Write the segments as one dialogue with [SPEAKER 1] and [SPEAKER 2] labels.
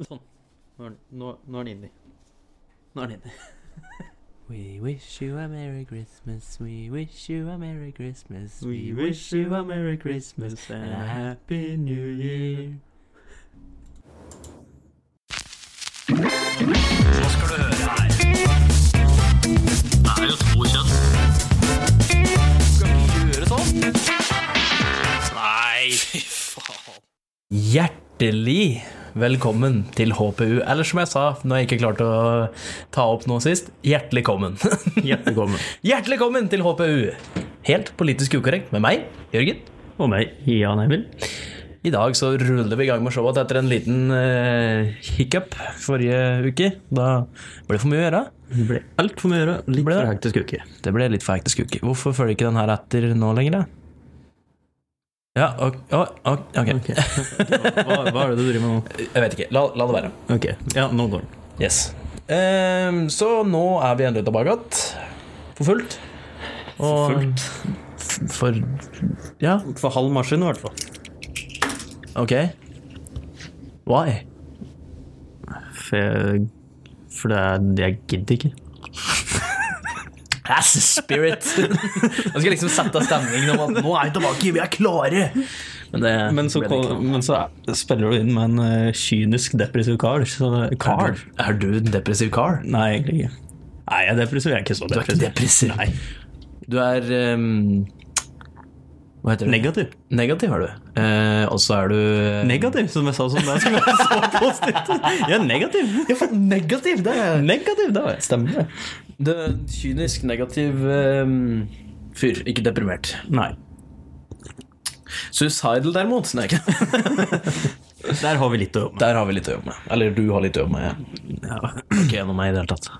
[SPEAKER 1] Sånn. Nå er den- Nå nå er den inni. Nå er den inni.
[SPEAKER 2] We wish you a Merry Christmas, we wish you a Merry Christmas,
[SPEAKER 1] We wish you a Merry Christmas and a Happy New Year.
[SPEAKER 3] Hjertelig velkommen til HPU. Eller som jeg sa når jeg ikke klarte å ta opp noe sist, hjertelig kommen.
[SPEAKER 1] Hjertelig velkommen.
[SPEAKER 3] hjertelig kommen til HPU! Helt politisk ukorrekt med meg, Jørgen.
[SPEAKER 1] Og meg, Jan Emil.
[SPEAKER 3] I dag så ruller vi i gang med showet etter en liten eh, hiccup forrige uke. Da ble det for mye å gjøre.
[SPEAKER 1] Det ble altfor mye å gjøre. Litt
[SPEAKER 3] Ble det?
[SPEAKER 1] for hektisk uke.
[SPEAKER 3] Det ble litt for hektisk uke. Hvorfor følger ikke den her etter nå lenger? da? Ja, ok, å, ok, ok.
[SPEAKER 1] Ok. Hva, hva er det du driver med nå?
[SPEAKER 3] Jeg vet ikke. La, la det være.
[SPEAKER 1] Ok, ja, nå går den.
[SPEAKER 3] Yes. Ehm, så nå er vi endelig tilbake igjen. For fullt. Og f- For Ja,
[SPEAKER 1] For halv maskin i hvert fall.
[SPEAKER 3] ok. Why?
[SPEAKER 1] For, jeg- for det er det jeg gidder ikke.
[SPEAKER 3] That's the spirit! Jeg skal liksom sette stemningen om at nå er vi tilbake, vi er klare! Men, det,
[SPEAKER 1] Men så,
[SPEAKER 3] ble det ikke noe.
[SPEAKER 1] spiller du inn med en eh, kynisk depressiv kar.
[SPEAKER 3] er, du, er du en depressiv car?
[SPEAKER 1] Nei, egentlig ikke. Nei, jeg er depressiv. Jeg er ikke så
[SPEAKER 3] Du er ikke depressiv.
[SPEAKER 1] Nei.
[SPEAKER 3] Du er ehm, Hva heter det?
[SPEAKER 1] Negativ.
[SPEAKER 3] Negativ er du. Eh, og så er du
[SPEAKER 1] Negativ, som jeg sa som det skulle være så positivt. Jeg er negativ.
[SPEAKER 3] Ja, for negativ! Det er
[SPEAKER 1] Negativ, det stemmer det.
[SPEAKER 3] Det er en kynisk, negativ ehm, fyr. Ikke deprimert.
[SPEAKER 1] Nei.
[SPEAKER 3] Suicidal, derimot. Nei, ikke.
[SPEAKER 1] Der har vi litt å jobbe med.
[SPEAKER 3] Der har vi litt å jobbe med. Eller du har litt å jobbe med.
[SPEAKER 1] Ja.
[SPEAKER 3] Ikke gjennom meg i det hele tatt.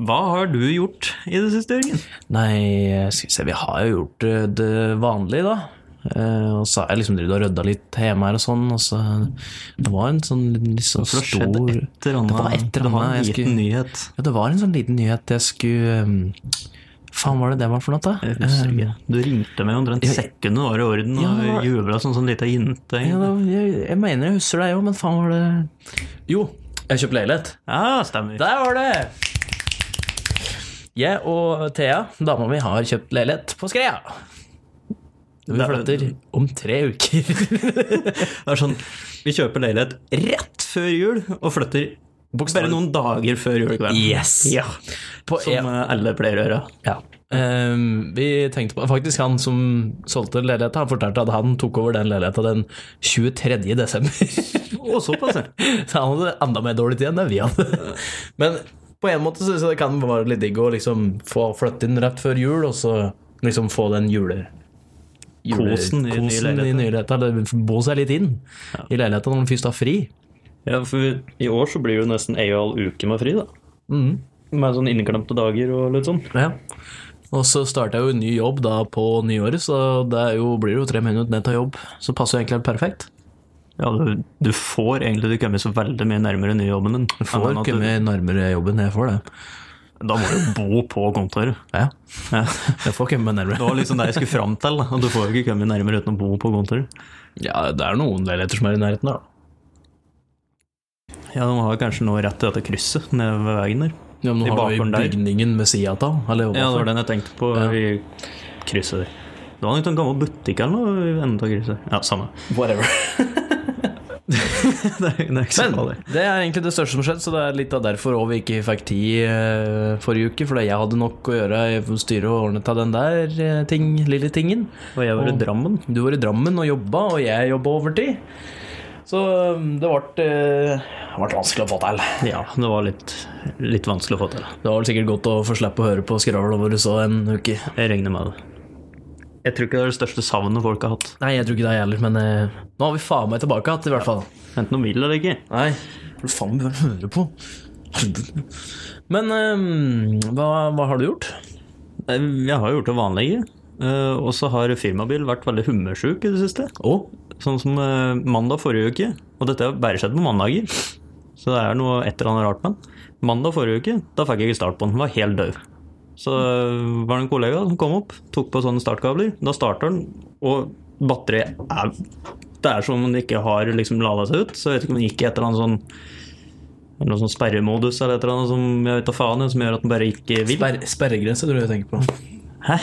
[SPEAKER 1] Hva har du gjort i det siste, Jørgen?
[SPEAKER 3] Nei, eh, skal vi se, vi har jo gjort eh, det vanlige, da. Eh, og så har jeg liksom drevet og rydda litt hjemme her og sånn. Og så det var en sånn liten- litt sånn
[SPEAKER 1] For det
[SPEAKER 3] stor
[SPEAKER 1] skjedde et eller annet.
[SPEAKER 3] Det var et eller
[SPEAKER 1] Det var
[SPEAKER 3] annet
[SPEAKER 1] en
[SPEAKER 3] jeg
[SPEAKER 1] liten
[SPEAKER 3] skulle-
[SPEAKER 1] nyhet.
[SPEAKER 3] Ja, det var en sånn liten nyhet jeg skulle ehm, Faen, hva var det det var for noe, da?
[SPEAKER 1] Jeg husker ikke. Du ringte meg omtrent
[SPEAKER 3] Um, Ja.
[SPEAKER 1] sekundet var i orden og
[SPEAKER 3] Ja.
[SPEAKER 1] jubla som sånn lita jente.
[SPEAKER 3] Eh, Ja, da, jeg, jeg mener jeg husker deg òg, men faen var det Jo, jeg kjøpte leilighet.
[SPEAKER 1] Ja, stemmer.
[SPEAKER 3] Der var det! Jeg og Thea, dama mi, har kjøpt leilighet på Skreia. Vi
[SPEAKER 1] Det-
[SPEAKER 3] flytter om tre uker.
[SPEAKER 1] Det er sånn, vi kjøper leilighet rett før jul og flytter bare noen dager før julekvelden.
[SPEAKER 3] Yes!
[SPEAKER 1] Ja,
[SPEAKER 3] På
[SPEAKER 1] som
[SPEAKER 3] en,
[SPEAKER 1] eh, alle pleier å gjøre.
[SPEAKER 3] ja. Ehm, vi tenkte på Faktisk, han som solgte leiligheten, han fortalte at han tok over den leiligheten den 23. desember.
[SPEAKER 1] Og såpass, ja.
[SPEAKER 3] Så han hadde enda mer dårlig tid enn det vi hadde. Men på en måte synes jeg det kan være litt digg å liksom få flytte inn rett før jul, og så liksom få den jule... jule-
[SPEAKER 1] Kosen i nye
[SPEAKER 3] kosen
[SPEAKER 1] leiligheter.
[SPEAKER 3] nye leiligheter. Det- Bo seg litt inn i leiligheten når man først har fri.
[SPEAKER 1] ja. For i år så blir det jo nesten ei og en halv uke med fri, da.
[SPEAKER 3] Mm.
[SPEAKER 1] Med sånn inneklemte dager og litt sånn.
[SPEAKER 3] Ja. Og så starter jeg jo en ny jobb da på nyåret, så det er jo, blir jo tre minutter ned til jobb. Så passer jo egentlig helt perfekt.
[SPEAKER 1] Ja, du, du får egentlig Du kommer så veldig mye nærmere nye jobben din.
[SPEAKER 3] Jeg får
[SPEAKER 1] Enn at
[SPEAKER 3] ikke mer nærmere jobben, jeg får det.
[SPEAKER 1] Da må du bo på kontoret.
[SPEAKER 3] Ja,
[SPEAKER 1] Ja.
[SPEAKER 3] jeg får ikke mer
[SPEAKER 1] Det
[SPEAKER 3] nærmere.
[SPEAKER 1] var liksom det jeg skulle fram til. da, Og du får jo ikke kommet nærmere uten å bo på kontoret.
[SPEAKER 3] Ja, det er noen leiligheter som er i nærheten da.
[SPEAKER 1] Ja, de har kanskje noe rett i dette krysset nede ved veien der.
[SPEAKER 3] Ja, men
[SPEAKER 1] I
[SPEAKER 3] nå har du jo
[SPEAKER 1] bakgården der.
[SPEAKER 3] bygningen ved sida av. Eller
[SPEAKER 1] Ja, det
[SPEAKER 3] overfor.
[SPEAKER 1] var den jeg tenkte på
[SPEAKER 3] Ja.
[SPEAKER 1] i krysset der. Det var nok en gammel butikk eller noe i enden av krysset. Ja, samme.
[SPEAKER 3] Whatever.
[SPEAKER 1] det, er, det er ikke så
[SPEAKER 3] Men
[SPEAKER 1] farlig.
[SPEAKER 3] det er egentlig det største som skjedde, så det er litt av derfor også vi ikke fikk tid eh, forrige uke. Fordi jeg hadde nok å gjøre i styret og ordnet av den der eh, ting, lille tingen.
[SPEAKER 1] Og jeg var i
[SPEAKER 3] Og-
[SPEAKER 1] Drammen.
[SPEAKER 3] Du var i Drammen og jobba, og jeg jobba overtid. Så um, det ble, eh, det ble vanskelig å få til.
[SPEAKER 1] Ja, det var litt, litt vanskelig å få til.
[SPEAKER 3] Det var vel sikkert godt å få slippe å høre på skravla vår så en uke.
[SPEAKER 1] Jeg regner med det. Jeg tror ikke det er det største savnet folk har hatt.
[SPEAKER 3] Nei, jeg tror ikke det, jeg heller, men eh, nå har vi faen meg tilbake igjen, i hvert fall.
[SPEAKER 1] Enten de vil eller ikke.
[SPEAKER 3] Nei, hva faen bør han høre på? Men ehm, hva, hva har du gjort?
[SPEAKER 1] Jeg har gjort det vanlige. Eh, og så har firmabil vært veldig humørsjuk i det siste.
[SPEAKER 3] Oh,
[SPEAKER 1] Sånn som eh, mandag forrige uke. Og dette har bare skjedd på mandager. Så det er noe et eller annet rart med den. Mandag forrige uke, da fikk jeg ikke start på den. Den var helt døv. Så eh, var det en kollega som kom opp, tok på sånne startkabler. Da starter den, og batteriet er Det er som om det ikke har liksom lada seg ut. Så jeg vet ikke om det gikk i et eller annet sånn eller noe sånn sperremodus eller et eller annet som jeg vet da faen, som gjør at den bare ikke vil.
[SPEAKER 3] Sperre, sperregrense tror jeg jeg tenker på.
[SPEAKER 1] Hæ?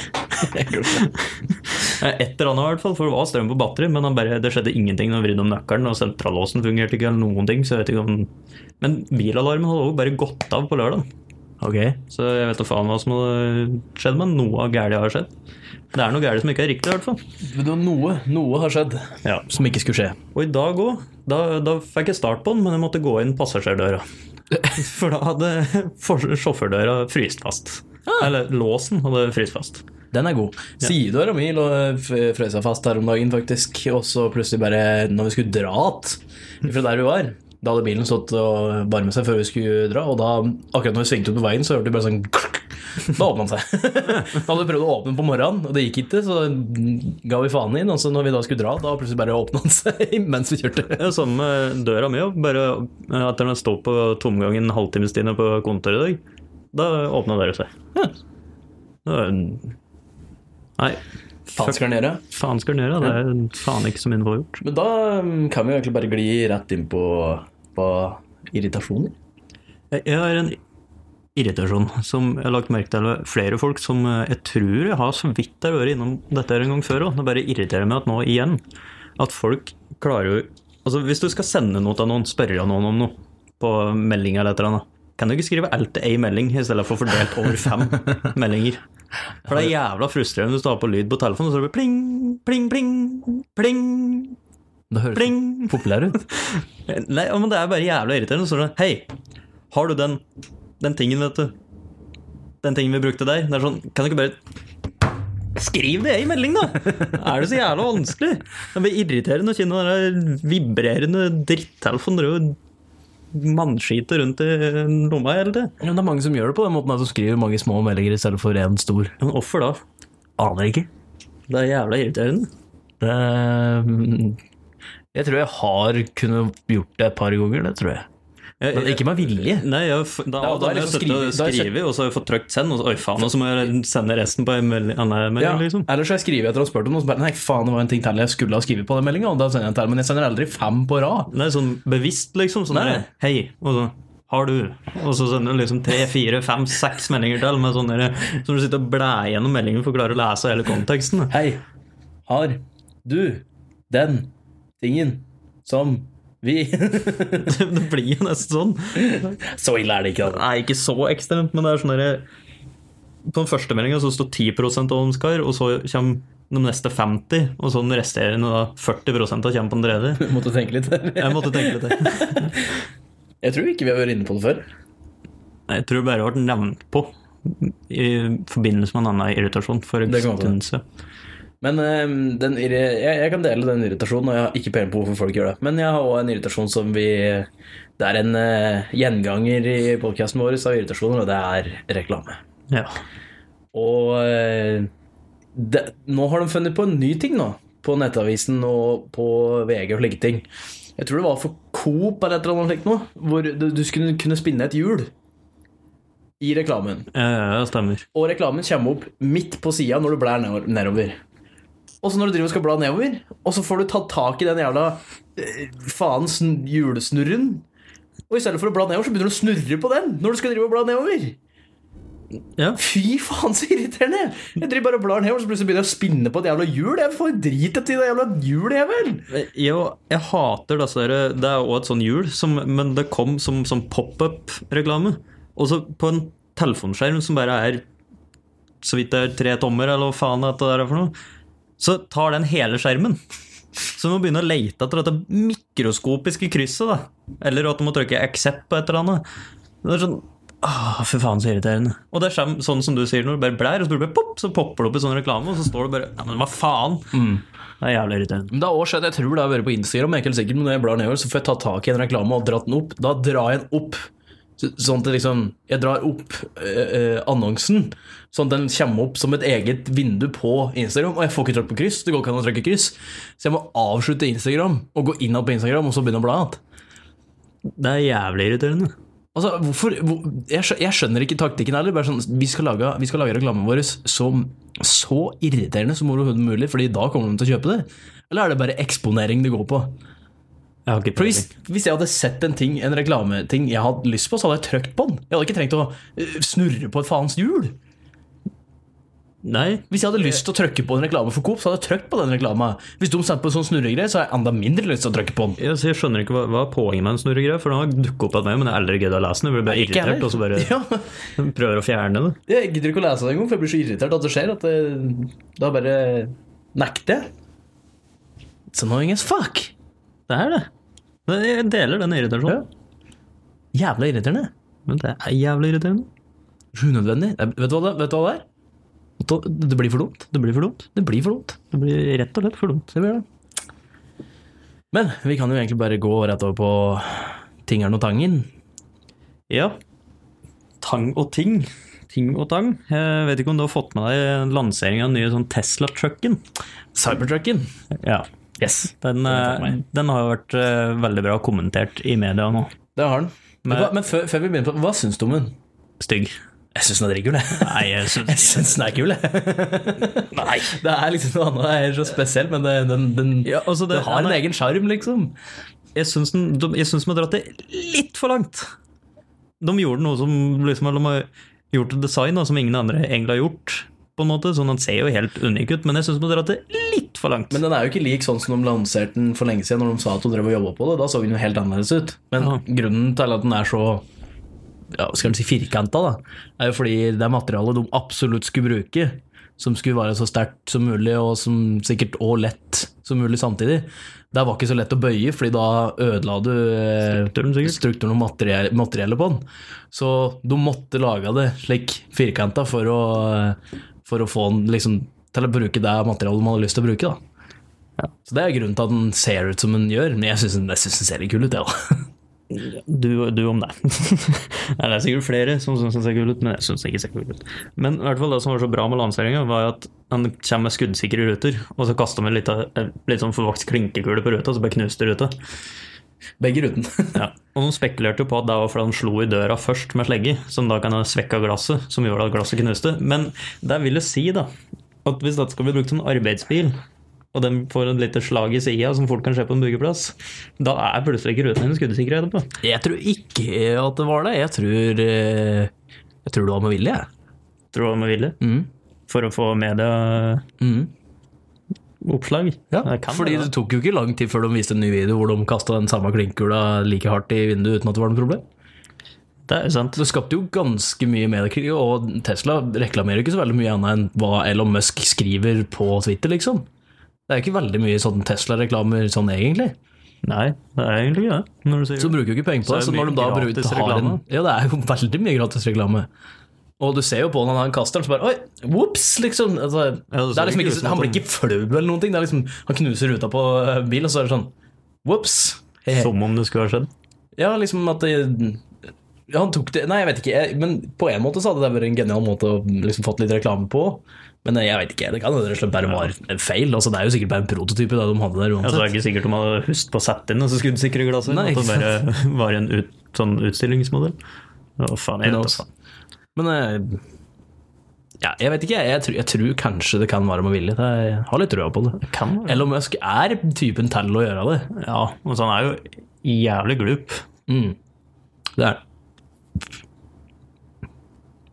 [SPEAKER 1] Et eller annet i hvert fall, for det var strøm på batteri, men han bare, det skjedde ingenting når han vridde om nøkkelen, og sentrallåsen fungerte ikke eller noen ting, så jeg vet ikke om Men bilalarmen hadde også bare gått av på lørdag.
[SPEAKER 2] Ok.
[SPEAKER 1] Så jeg vet da faen hva som hadde skjedd, men noe gærent har skjedd. Det er noe gærent som ikke er riktig, i hvert fall.
[SPEAKER 3] Men det var Noe, noe har skjedd
[SPEAKER 1] Ja.
[SPEAKER 3] som ikke skulle skje.
[SPEAKER 1] Og i dag òg, da, da fikk jeg start på den, men jeg måtte gå inn passasjerdøra. For da hadde for- sjåførdøra fryst fast. Eller låsen hadde fryst fast.
[SPEAKER 3] Den er god. Sidedøra mi lå f- frøs seg fast her om dagen, faktisk. Og så plutselig bare, når vi skulle dra igjen fra der vi var Da hadde bilen stått og varmet seg før vi skulle dra, og da, akkurat når vi svingte ut på veien, så hørte vi bare sånn klukk. Da åpna den seg. Da hadde vi prøvd å åpne den på morgenen, og det gikk ikke, så ga vi faen inn. Og så når vi da skulle dra, da plutselig bare åpna den seg mens vi kjørte.
[SPEAKER 1] Det er jo samme med døra mi, også, bare eh, at den står på tomgang en halvtimes tid på kontoret i dag. Da åpna døra seg. Det var en- Nei,
[SPEAKER 3] Faen skal den gjøre?
[SPEAKER 1] faen skal den gjøre? Det er faen ikke så mye den får gjort.
[SPEAKER 3] Men da mm, kan vi jo egentlig bare gli rett inn på, på irritasjoner.
[SPEAKER 1] Jeg- Jeg har en irritasjon som jeg har lagt merke til ved flere folk som eh, jeg tror jeg har så vidt har vært innom dette her en gang før òg. Det bare irriterer meg at nå igjen at folk klarer jo Altså hvis du skal sende noe til noen, spørre noen om noe på melding eller et eller annet, kan du ikke skrive alt til ei melding i stedet for fordelt over fem meldinger? For det er jævla frustrerende hvis du har på lyd på telefonen, og så er det bare pling, pling, pling, pling,
[SPEAKER 3] Det høres
[SPEAKER 1] pling.
[SPEAKER 3] populær ut.
[SPEAKER 1] Nei, men det er bare jævla irriterende. Så står det Hei, har du den, den tingen, vet du? Den tingen vi brukte der? Det er sånn, kan du ikke bare Skriv det i melding, da! Er det så jævla vanskelig? Det blir irriterende å kjenne den der vibrerende drittelefonen drive og mannskite rundt i lomma hele tida.
[SPEAKER 3] Ja, men det er mange som gjør det på den måten, at de skriver mange små meldinger i stedet for én stor.
[SPEAKER 1] Men hvorfor da?
[SPEAKER 3] Aner ikke.
[SPEAKER 1] Det er jævla irriterende.
[SPEAKER 3] Det, eh, jeg tror jeg har kunnet gjort det et par ganger, det tror jeg.
[SPEAKER 1] Jeg-
[SPEAKER 3] Men ikke med vilje.
[SPEAKER 1] Nei, jeg, har f- da, da,
[SPEAKER 3] Da- da er
[SPEAKER 1] har jeg
[SPEAKER 3] liksom
[SPEAKER 1] sittet og
[SPEAKER 3] skrive- da har jeg
[SPEAKER 1] skrevet, og så har jeg fått trykt send, og så, oi faen, og så må jeg sende resten på en melding, annen melding, liksom.
[SPEAKER 3] Ellers har jeg skrevet etter å ha spurt om noe, så bare nei, faen, det var en ting til jeg skulle ha skrevet på den meldinga, og da sender jeg den til, men jeg sender aldri fem på rad.
[SPEAKER 1] Nei, sånn bevisst, liksom. Sånn
[SPEAKER 3] Nei.
[SPEAKER 1] der, Hei, og så har du? Og så sender du liksom tre, fire, fem, seks meldinger til med sånn der, så du sitter og blæ gjennom meldingen for å klare å lese hele konteksten. da.
[SPEAKER 3] Hei, har du den tingen som vi
[SPEAKER 1] Det blir jo nesten sånn.
[SPEAKER 3] Så ille er det ikke, altså. da.
[SPEAKER 1] Nei, ikke så ekstremt, men det er sånn derre På den første meldinga så står 10 av hva de skal, og så kommer de neste 50, og så den resterende da 40 av kommer på den tredje.
[SPEAKER 3] Måtte tenke litt.
[SPEAKER 1] Jeg måtte tenke litt. jeg.
[SPEAKER 3] Jeg tror ikke vi har vært inne på det før.
[SPEAKER 1] Nei, Jeg tror det bare jeg ble nevnt på i forbindelse med en annen irritasjon for en
[SPEAKER 3] Det kan være.
[SPEAKER 1] stund siden.
[SPEAKER 3] Men eh, den, irri- jeg, jeg kan dele den irritasjonen, og jeg har ikke peiling på hvorfor folk gjør det. Men jeg har òg en irritasjon som vi Det er en eh, gjenganger i podkasten vår av irritasjoner, og det er reklame.
[SPEAKER 1] Ja.
[SPEAKER 3] Og eh, det, nå har de funnet på en ny ting nå. På Nettavisen og på VG og slike ting. Jeg tror det var for Coop eller et eller annet slikt noe. Hvor du, du skulle kunne spinne et hjul i reklamen.
[SPEAKER 1] Ja, Eh, ja, ja, stemmer.
[SPEAKER 3] Og reklamen kommer opp midt på sida når du blær ned- nedover. Og så når du driver og skal bla nedover, og så får du tatt tak i den jævla eh, faens hjulesnurren. Og i stedet for å bla nedover, så begynner du å snurre på den når du skal drive og bla nedover.
[SPEAKER 1] Ja.
[SPEAKER 3] Fy faen, så irriterende! Jeg driver bare og blar nedover, så plutselig begynner jeg å spinne på et jævla hjul. Jeg får drit etter det jævla hjulet, jeg vel!
[SPEAKER 1] Jo, jeg hater disse der, Det er også et sånn hjul, som, men det kom som, som pop-up-reklame. Og så på en telefonskjerm som bare er så vidt det er tre tommer, eller hva faen det der er for noe, så tar den hele skjermen. Så du må begynne å leite etter dette mikroskopiske krysset, da. Eller at du må trykke 'accept' på et eller annet. Det er sånn Åh, fy faen, så irriterende. Og det kommer sånn som du sier, når du bare blær, og så, blir det bare pop, så popper det opp i sånn reklame, og så står det bare Ja, men hva faen? Det er jævlig irriterende.
[SPEAKER 3] Men det har også skjedd, jeg tror det har vært på Instagram, jeg er ikke helt sikker, men når jeg blar nedover, så får jeg ta tak i en reklame og dratt den opp. Da drar jeg den opp. Så- Sånn at det liksom, jeg drar opp eh, eh, annonsen, sånn at den kommer opp som et eget vindu på Instagram. Og jeg får ikke trykt på kryss, det går ikke an å trykke kryss. Så jeg må avslutte Instagram og gå inn på Instagram og så begynne å bla igjen.
[SPEAKER 1] Det er jævlig irriterende.
[SPEAKER 3] Altså, hvorfor, hvor, jeg, skjø- jeg skjønner ikke taktikken heller. Bare sånn, vi, skal lage, vi skal lage reklamen vår så, så irriterende som overhodet mulig, Fordi da kommer de til å kjøpe det. Eller er det bare eksponering det går på?
[SPEAKER 1] Jeg har ikke
[SPEAKER 3] For
[SPEAKER 1] peiling.
[SPEAKER 3] hvis, hvis jeg hadde sett en ting, en reklameting jeg hadde lyst på, så hadde jeg trykt på den. Jeg hadde ikke trengt å øh, snurre på et faens hjul.
[SPEAKER 1] Nei,
[SPEAKER 3] Hvis jeg hadde lyst til å trykke på en reklame for Coop, så hadde jeg trykt på den reklama. Hvis de sendte på en sånn snurregreie, så har jeg enda mindre lyst til å trykke på den.
[SPEAKER 1] jeg, så jeg skjønner ikke hva, hva er poenget med en snurregreie, for den har dukket opp av meg, men jeg har aldri giddet å lese den. Jeg blir bare
[SPEAKER 3] Ikke jeg
[SPEAKER 1] irritert, og så bare
[SPEAKER 3] heller. Ja.
[SPEAKER 1] prøver å fjerne det.
[SPEAKER 3] Jeg gidder ikke å lese det engang, for jeg blir så irritert at det skjer. At det, da bare nekter jeg. It's annoying as fuck.
[SPEAKER 1] Det er det. Men Jeg deler den irritasjonen.
[SPEAKER 3] Jævla irriterende.
[SPEAKER 1] Men det er jævlig irriterende.
[SPEAKER 3] Så unødvendig. Det, vet, du hva det, vet du hva det er? Det- Det blir for dumt.
[SPEAKER 1] Det blir for dumt.
[SPEAKER 3] Det blir for dumt.
[SPEAKER 1] Det blir rett og slett for dumt.
[SPEAKER 3] Det blir det. Men vi kan jo egentlig bare gå rett over på Tingeren og Tangen.
[SPEAKER 1] Ja. Tang og ting. Ting og tang. Jeg vet ikke om du har fått med deg lanseringen av den nye sånn Tesla-trucken?
[SPEAKER 3] Cybertrucken.
[SPEAKER 1] Ja.
[SPEAKER 3] Yes.
[SPEAKER 1] Den,
[SPEAKER 3] har jeg fått
[SPEAKER 1] eh,
[SPEAKER 3] med.
[SPEAKER 1] den har jo vært eh, veldig bra kommentert i media nå.
[SPEAKER 3] Det har den. Men,
[SPEAKER 1] Men-
[SPEAKER 3] hva- men før, før vi begynner på Hva syns du om den?
[SPEAKER 1] Stygg.
[SPEAKER 3] Jeg syns den er dritkul, jeg.
[SPEAKER 1] Nei, jeg
[SPEAKER 3] Jeg
[SPEAKER 1] syns
[SPEAKER 3] syns den er kul, jeg. Nei. Det er liksom noe annet er så spesielt, men det, den, den,
[SPEAKER 1] Ja, altså, det-
[SPEAKER 3] den har en
[SPEAKER 1] den er-
[SPEAKER 3] egen sjarm, liksom.
[SPEAKER 1] Jeg syns den- de jeg syns de har dratt det litt for langt. De gjorde noe som liksom, De har gjort et design da, som ingen andre egentlig har gjort. På en måte, sånn Den ser jo helt unik ut, men jeg syns de har dratt det litt for langt.
[SPEAKER 3] Men den er jo ikke lik sånn som de lanserte den for lenge siden, når de sa at de drev og jobba på det. Da så den jo helt annerledes ut. Men
[SPEAKER 1] Ja.
[SPEAKER 3] grunnen til at den er så ja, skal den si firkanta, da, er jo fordi det er materialet de absolutt skulle bruke. Som skulle være så sterkt som mulig, og som sikkert òg lett som mulig samtidig. Det var ikke så lett å bøye, fordi da ødela du eh,
[SPEAKER 1] Strukturen, sikkert.
[SPEAKER 3] strukturen og materiell- materiellet på den. Så de måtte lage det slik firkanta for å, for å få den liksom, til å bruke det materialet man hadde lyst til å bruke. Da.
[SPEAKER 1] Ja.
[SPEAKER 3] Så det er grunnen til at den ser ut som den gjør, men jeg syns den, jeg synes den ser litt kul ut, jeg òg.
[SPEAKER 1] Du, du om det. Nei, det er sikkert flere som syns den ser kul ut, men jeg syns den ikke ser kul ut. Men i hvert fall det som var så bra med lanseringa, var at han kommer med skuddsikre ruter, og så kaster han en liten- litt sånn forvokst klinkekule på ruta, og så bare knuste ruta.
[SPEAKER 3] Begge ruten.
[SPEAKER 1] Ja. Og de spekulerte jo på at det var fordi han slo i døra først med slegge, som da kan ha svekka glasset, som gjorde at glasset knuste. Men det vil jo si, da, at hvis dette skal bli brukt som arbeidsbil, og den får et lite slag i sida som fort kan skje på en byggeplass, da er plutselig ikke rutene hennes skuddsikre etterpå.
[SPEAKER 3] Jeg tror ikke eh, at det var det. Jeg tror, eh, jeg tror det var med vilje. jeg.
[SPEAKER 1] Tror du det var med vilje?
[SPEAKER 3] Mm.
[SPEAKER 1] For å få medieoppslag?
[SPEAKER 3] Ja,
[SPEAKER 1] Det kan
[SPEAKER 3] Mm. fordi
[SPEAKER 1] være
[SPEAKER 3] det
[SPEAKER 1] det.
[SPEAKER 3] tok jo ikke lang tid før de viste en ny video hvor de kasta den samme klinkekula like hardt i vinduet uten at det var noe problem.
[SPEAKER 1] det er sant.
[SPEAKER 3] Det skapte jo ganske mye mediekrig, og Tesla reklamerer jo ikke så veldig mye annet enn hva Elon Musk skriver på Twitter, liksom. Det er jo ikke veldig mye sånn Tesla-reklamer sånn egentlig.
[SPEAKER 1] Nei, det er egentlig ikke det. Når du sier
[SPEAKER 3] Så de bruker jo ikke penger på det.
[SPEAKER 1] Så
[SPEAKER 3] Så
[SPEAKER 1] er det
[SPEAKER 3] når de
[SPEAKER 1] mye
[SPEAKER 3] da
[SPEAKER 1] gratis
[SPEAKER 3] bruker, har en,
[SPEAKER 1] reklame.
[SPEAKER 3] ja, det er jo veldig mye gratis reklame. Og du ser jo på når han kaster den, så bare Oi, whoops! Liksom. Altså,
[SPEAKER 1] Ja, det
[SPEAKER 3] det
[SPEAKER 1] ser
[SPEAKER 3] er liksom
[SPEAKER 1] ikke
[SPEAKER 3] ikke,
[SPEAKER 1] ut som at
[SPEAKER 3] han blir
[SPEAKER 1] han-
[SPEAKER 3] ikke flau eller noen ting. Det er liksom, han knuser ruta på eh, bilen, og så er det sånn Whoops! He-he.
[SPEAKER 1] Som om det skulle ha skjedd.
[SPEAKER 3] Ja, liksom at det, ja, han tok det Nei, jeg vet ikke. Jeg, men på en måte så hadde det vært en genial måte å liksom fått litt reklame på. Men jeg vet ikke. Det kan hende det slett bare var en feil. Altså, det er jo sikkert bare en prototype det de hadde der
[SPEAKER 1] Altså, det
[SPEAKER 3] uansett.
[SPEAKER 1] er ikke sikkert de hadde hust på å sette inn disse skuddsikre glassene.
[SPEAKER 3] Nei,
[SPEAKER 1] at det
[SPEAKER 3] ikke
[SPEAKER 1] bare var en ut, sånn utstillingsmodell. Å, faen, jeg
[SPEAKER 3] Who
[SPEAKER 1] vet
[SPEAKER 3] knows?
[SPEAKER 1] da faen.
[SPEAKER 3] Men eh, ja, jeg vet ikke. Jeg, jeg, tror, jeg tror kanskje det kan være med vilje. Jeg har litt trua på det.
[SPEAKER 1] Kan være.
[SPEAKER 3] Elon Musk er typen til å gjøre det.
[SPEAKER 1] Ja, og så han er jo jævlig glup.
[SPEAKER 3] Det er det.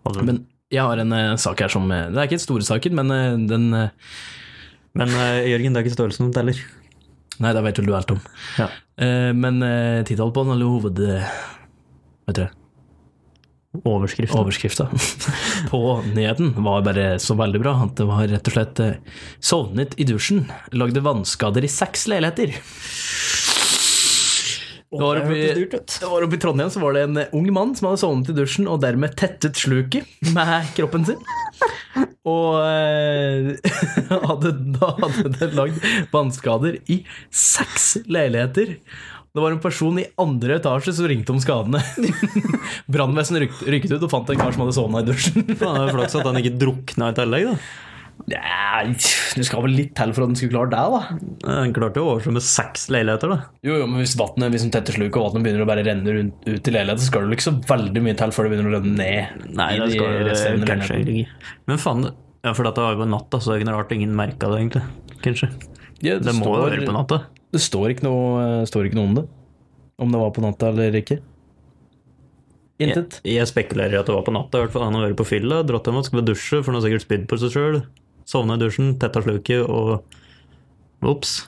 [SPEAKER 1] Altså, men
[SPEAKER 3] Men jeg har en eh, sak her som eh, Det er ikke den store saken, men eh, den eh,
[SPEAKER 1] eh, Jørgen, det er ikke størrelsen som teller.
[SPEAKER 3] Nei, det vet vel du alt om.
[SPEAKER 1] Ja.
[SPEAKER 3] Eh, men eh, tittelen på den, eller hoved... eh, Vet dere,
[SPEAKER 1] Overskriften.
[SPEAKER 3] overskrifta på nyheten var bare så veldig bra at det var rett og slett eh, 'Sovnet i dusjen. Lagde vannskader i seks leiligheter'. Det var, oppe i, det var oppe i Trondheim så var det en eh, ung mann som hadde sovnet i dusjen og dermed tettet sluket med kroppen sin. Og eh, hadde, da hadde det lagd vannskader i seks leiligheter. Det var en person i andre etasje som ringte om skadene. Brannvesenet rykket, rykket ut og fant en kar som hadde sovna i dusjen.
[SPEAKER 1] Faen, det er jo flaks at han ikke drukna i tillegg, da.
[SPEAKER 3] Nei, du skal vel litt til for at den skulle klare deg, da.
[SPEAKER 1] Han klarte jo å oversvømme seks leiligheter, da.
[SPEAKER 3] Jo, jo, men hvis vannet hvis den tetter sluket og vannet begynner å bare renne rundt, ut i leiligheten, så skal det vel ikke så veldig mye til før det begynner å renne ned.
[SPEAKER 1] Nei,
[SPEAKER 3] i
[SPEAKER 1] det
[SPEAKER 3] de
[SPEAKER 1] skal
[SPEAKER 3] resterende
[SPEAKER 1] det kanskje
[SPEAKER 3] leilighetene.
[SPEAKER 1] ikke. Men faen, ja, for dette var jo på natta, så det er ikke noe rart ingen merka det, egentlig. Kanskje.
[SPEAKER 3] Ja,
[SPEAKER 4] Det må jo være på natta.
[SPEAKER 3] Det står ikke, noe, står ikke noe om det. Om det var på natta eller ikke.
[SPEAKER 1] Jeg,
[SPEAKER 3] Intet.
[SPEAKER 1] jeg spekulerer i at det var på natta. I hvert fall han har vært på fylla, dratt hjem og skulle dusje, for han har sikkert spydd på seg sjøl. Sovna i dusjen, tetta sluket og Ops.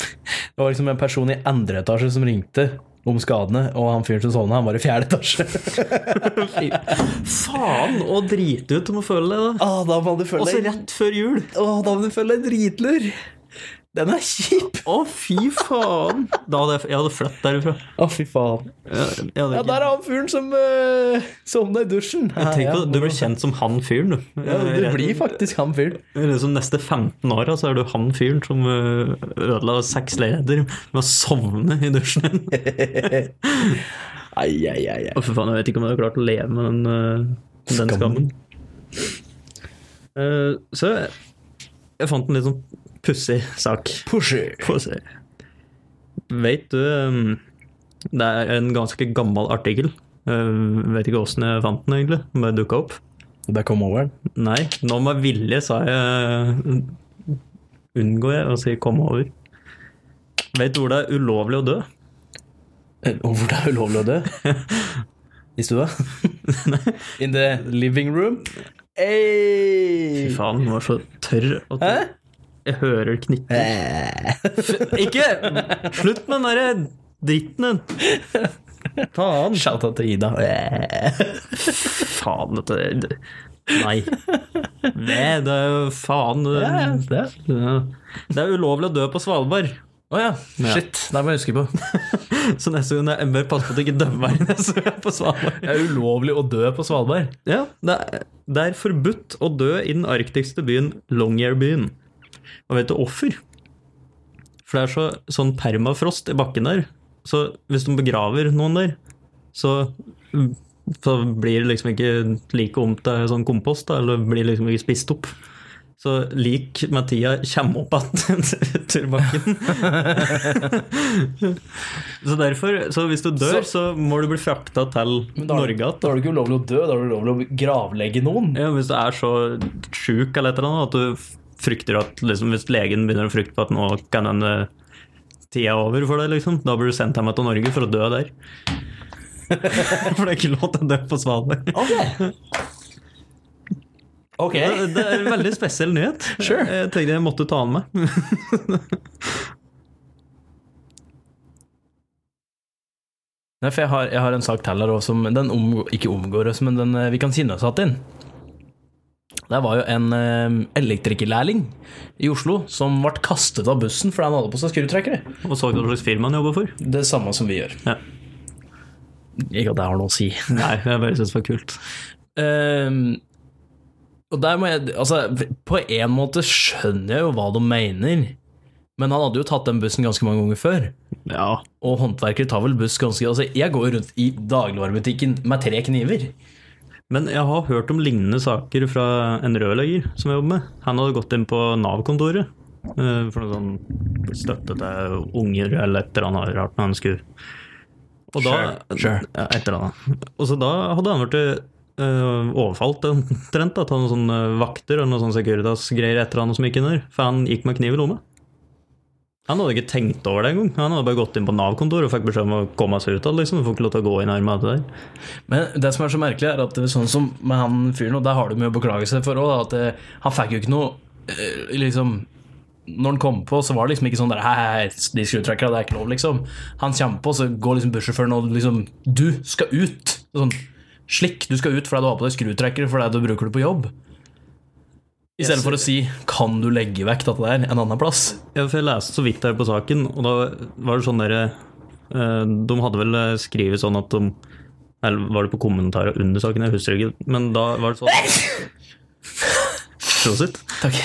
[SPEAKER 3] Det var liksom en person i andre etasje som ringte om skadene, og han fyren som sovna, han var i fjerde etasje.
[SPEAKER 1] Faen å drite ut om å føle det, da.
[SPEAKER 3] ah, da må du
[SPEAKER 1] Og
[SPEAKER 3] føle
[SPEAKER 1] så
[SPEAKER 3] deg
[SPEAKER 1] rett før jul.
[SPEAKER 3] Åh, da må du føle deg dritlur! Den er kjip!
[SPEAKER 1] Å, fy faen! Da hadde jeg, jeg hadde flytt derifra.
[SPEAKER 3] Å, fy faen.
[SPEAKER 1] Jeg, jeg hadde
[SPEAKER 3] Ja,
[SPEAKER 1] ikke,
[SPEAKER 3] der er han fyren som uh, sovna i dusjen.
[SPEAKER 1] tenk
[SPEAKER 3] Ja,
[SPEAKER 1] på
[SPEAKER 3] ja.
[SPEAKER 1] det, du blir kjent som han fyren, du.
[SPEAKER 3] Ja, det blir faktisk han fyren.
[SPEAKER 1] Eller som neste 15 åra så er du han fyren som øh, ødela seks leiligheter med å sovne i dusjen din.
[SPEAKER 3] Ai, ai, ai, ai.
[SPEAKER 1] Å, for faen, jeg vet ikke om jeg hadde klart å leve med den, øh, den skammen. Eh, så jeg, jeg fant en litt sånn pussig sak.
[SPEAKER 3] Pusher.
[SPEAKER 1] Få se. Veit du ehm, Det er en ganske gammel artikkel. Eh, vet ikke åssen jeg fant den, egentlig. Den bare dukka opp.
[SPEAKER 3] Der kom over'n.
[SPEAKER 1] Nei, nå med vilje sa jeg Unngår jeg å si 'kom over'. Vet du hvor det er ulovlig å dø?
[SPEAKER 3] Og hvor Eh, det er ulovlig å dø? I stua? In the living room?
[SPEAKER 1] Fy
[SPEAKER 3] Hey.
[SPEAKER 1] faen, hun var så tørr at
[SPEAKER 3] Hæ?
[SPEAKER 1] jeg, jeg hører knitter. Ikke! Slutt med den derre dritten din! Faen.
[SPEAKER 3] Shout-out til Ida.
[SPEAKER 1] Faen, dette det- Nei. Nei, det er jo faen det- Ja. Det er ulovlig å dø på Svalbard.
[SPEAKER 3] Å ja. Shit, det må jeg huske på.
[SPEAKER 1] Så neste gang jeg bør passe på at jeg ikke dømmer meg neste gang jeg er på Svalbard.
[SPEAKER 3] Det er ulovlig å dø på Svalbard.
[SPEAKER 1] Ja, det er, det er forbudt å dø i den arktiske byen Longyearbyen. Og vet du offer? For det er så, sånn permafrost i bakken der. Så hvis de begraver noen der, så, så blir det liksom ikke like om til sånn kompost, da, eller blir liksom ikke spist opp. Så lik med tida kommer opp igjen til bakken. så derfor, så hvis du dør,
[SPEAKER 3] Så-
[SPEAKER 1] så, må du bli frakta til Norge igjen.
[SPEAKER 3] Da er det ikke ulovlig å dø, da er det ulovlig å gravlegge noen.
[SPEAKER 1] Ja, hvis du er så sjuk eller et eller annet, at du frykter at liksom, Hvis legen begynner å frykte på at nå kan denne tida er over for deg, liksom, da blir du sendt hjem til Norge for å dø der. for det er ikke lov til å dø på Svalbard.
[SPEAKER 3] Ok. Ok.
[SPEAKER 1] Det det er en veldig spesiell nyhet.
[SPEAKER 3] Sure.
[SPEAKER 1] Jeg tenkte jeg måtte ta den med.
[SPEAKER 3] Nei, for jeg har, jeg har en sak til her også, som den omgår, ikke omgår oss, men den eh, vi kan sinne oss hatt inn. Det var jo en eh, elektrikerlærling i Oslo som ble kastet av bussen fordi han hadde på seg skrutrekkere.
[SPEAKER 1] Og så hva slags firma han jobber for.
[SPEAKER 3] Det samme som vi gjør.
[SPEAKER 1] Ja.
[SPEAKER 3] Ikke at det har noe å si.
[SPEAKER 1] Nei, jeg bare syns det var kult.
[SPEAKER 3] Ehm, og der må jeg Altså, på en måte skjønner jeg jo hva de mener, men han hadde jo tatt den bussen ganske mange ganger før.
[SPEAKER 1] Ja.
[SPEAKER 3] Og håndverkere tar vel buss ganske Altså, jeg går jo rundt i dagligvarebutikken med tre kniver.
[SPEAKER 1] Men jeg har hørt om lignende saker fra en rørlegger som jeg jobber med. Han hadde gått inn på Nav-kontoret eh, for noe sånn støtte til unger eller et eller annet rart når han skulle Og da
[SPEAKER 3] Sure, sure.
[SPEAKER 1] Ja, et eller annet. Og så da hadde han blitt eh, overfalt omtrent da, av noen sånne vakter og noen sånne Securitas-greier etter han som gikk inn der, for han gikk med kniv i lomma. Han hadde ikke tenkt over det engang. Han hadde bare gått inn på Nav-kontoret og fikk beskjed om å komme seg ut av det. Liksom. Du får ikke lov til å gå inn her med det der.
[SPEAKER 3] Men det som er så merkelig, er at det er sånn som med han fyren, og der har du mye å beklage seg for òg, at eh, han fikk jo ikke noe eh, liksom når han kom på, så var det liksom ikke sånn der Hei, hei, de skrutrekkerne, det er ikke lov, liksom. Han kommer på, så går liksom bussjåføren og liksom Du skal ut! Sånn slikk, du skal ut fordi du har på deg skrutrekkere fordi du bruker det på jobb. I stedet for å si 'Kan du legge vekk dette der en annen plass?'
[SPEAKER 1] Ja, for jeg leste så vidt her på saken, og da var det sånn der eh, De hadde vel skrevet sånn at de Eller var det på kommentarer under saken? Jeg husker ikke. Men da var det sånn Prosit.
[SPEAKER 3] Takk.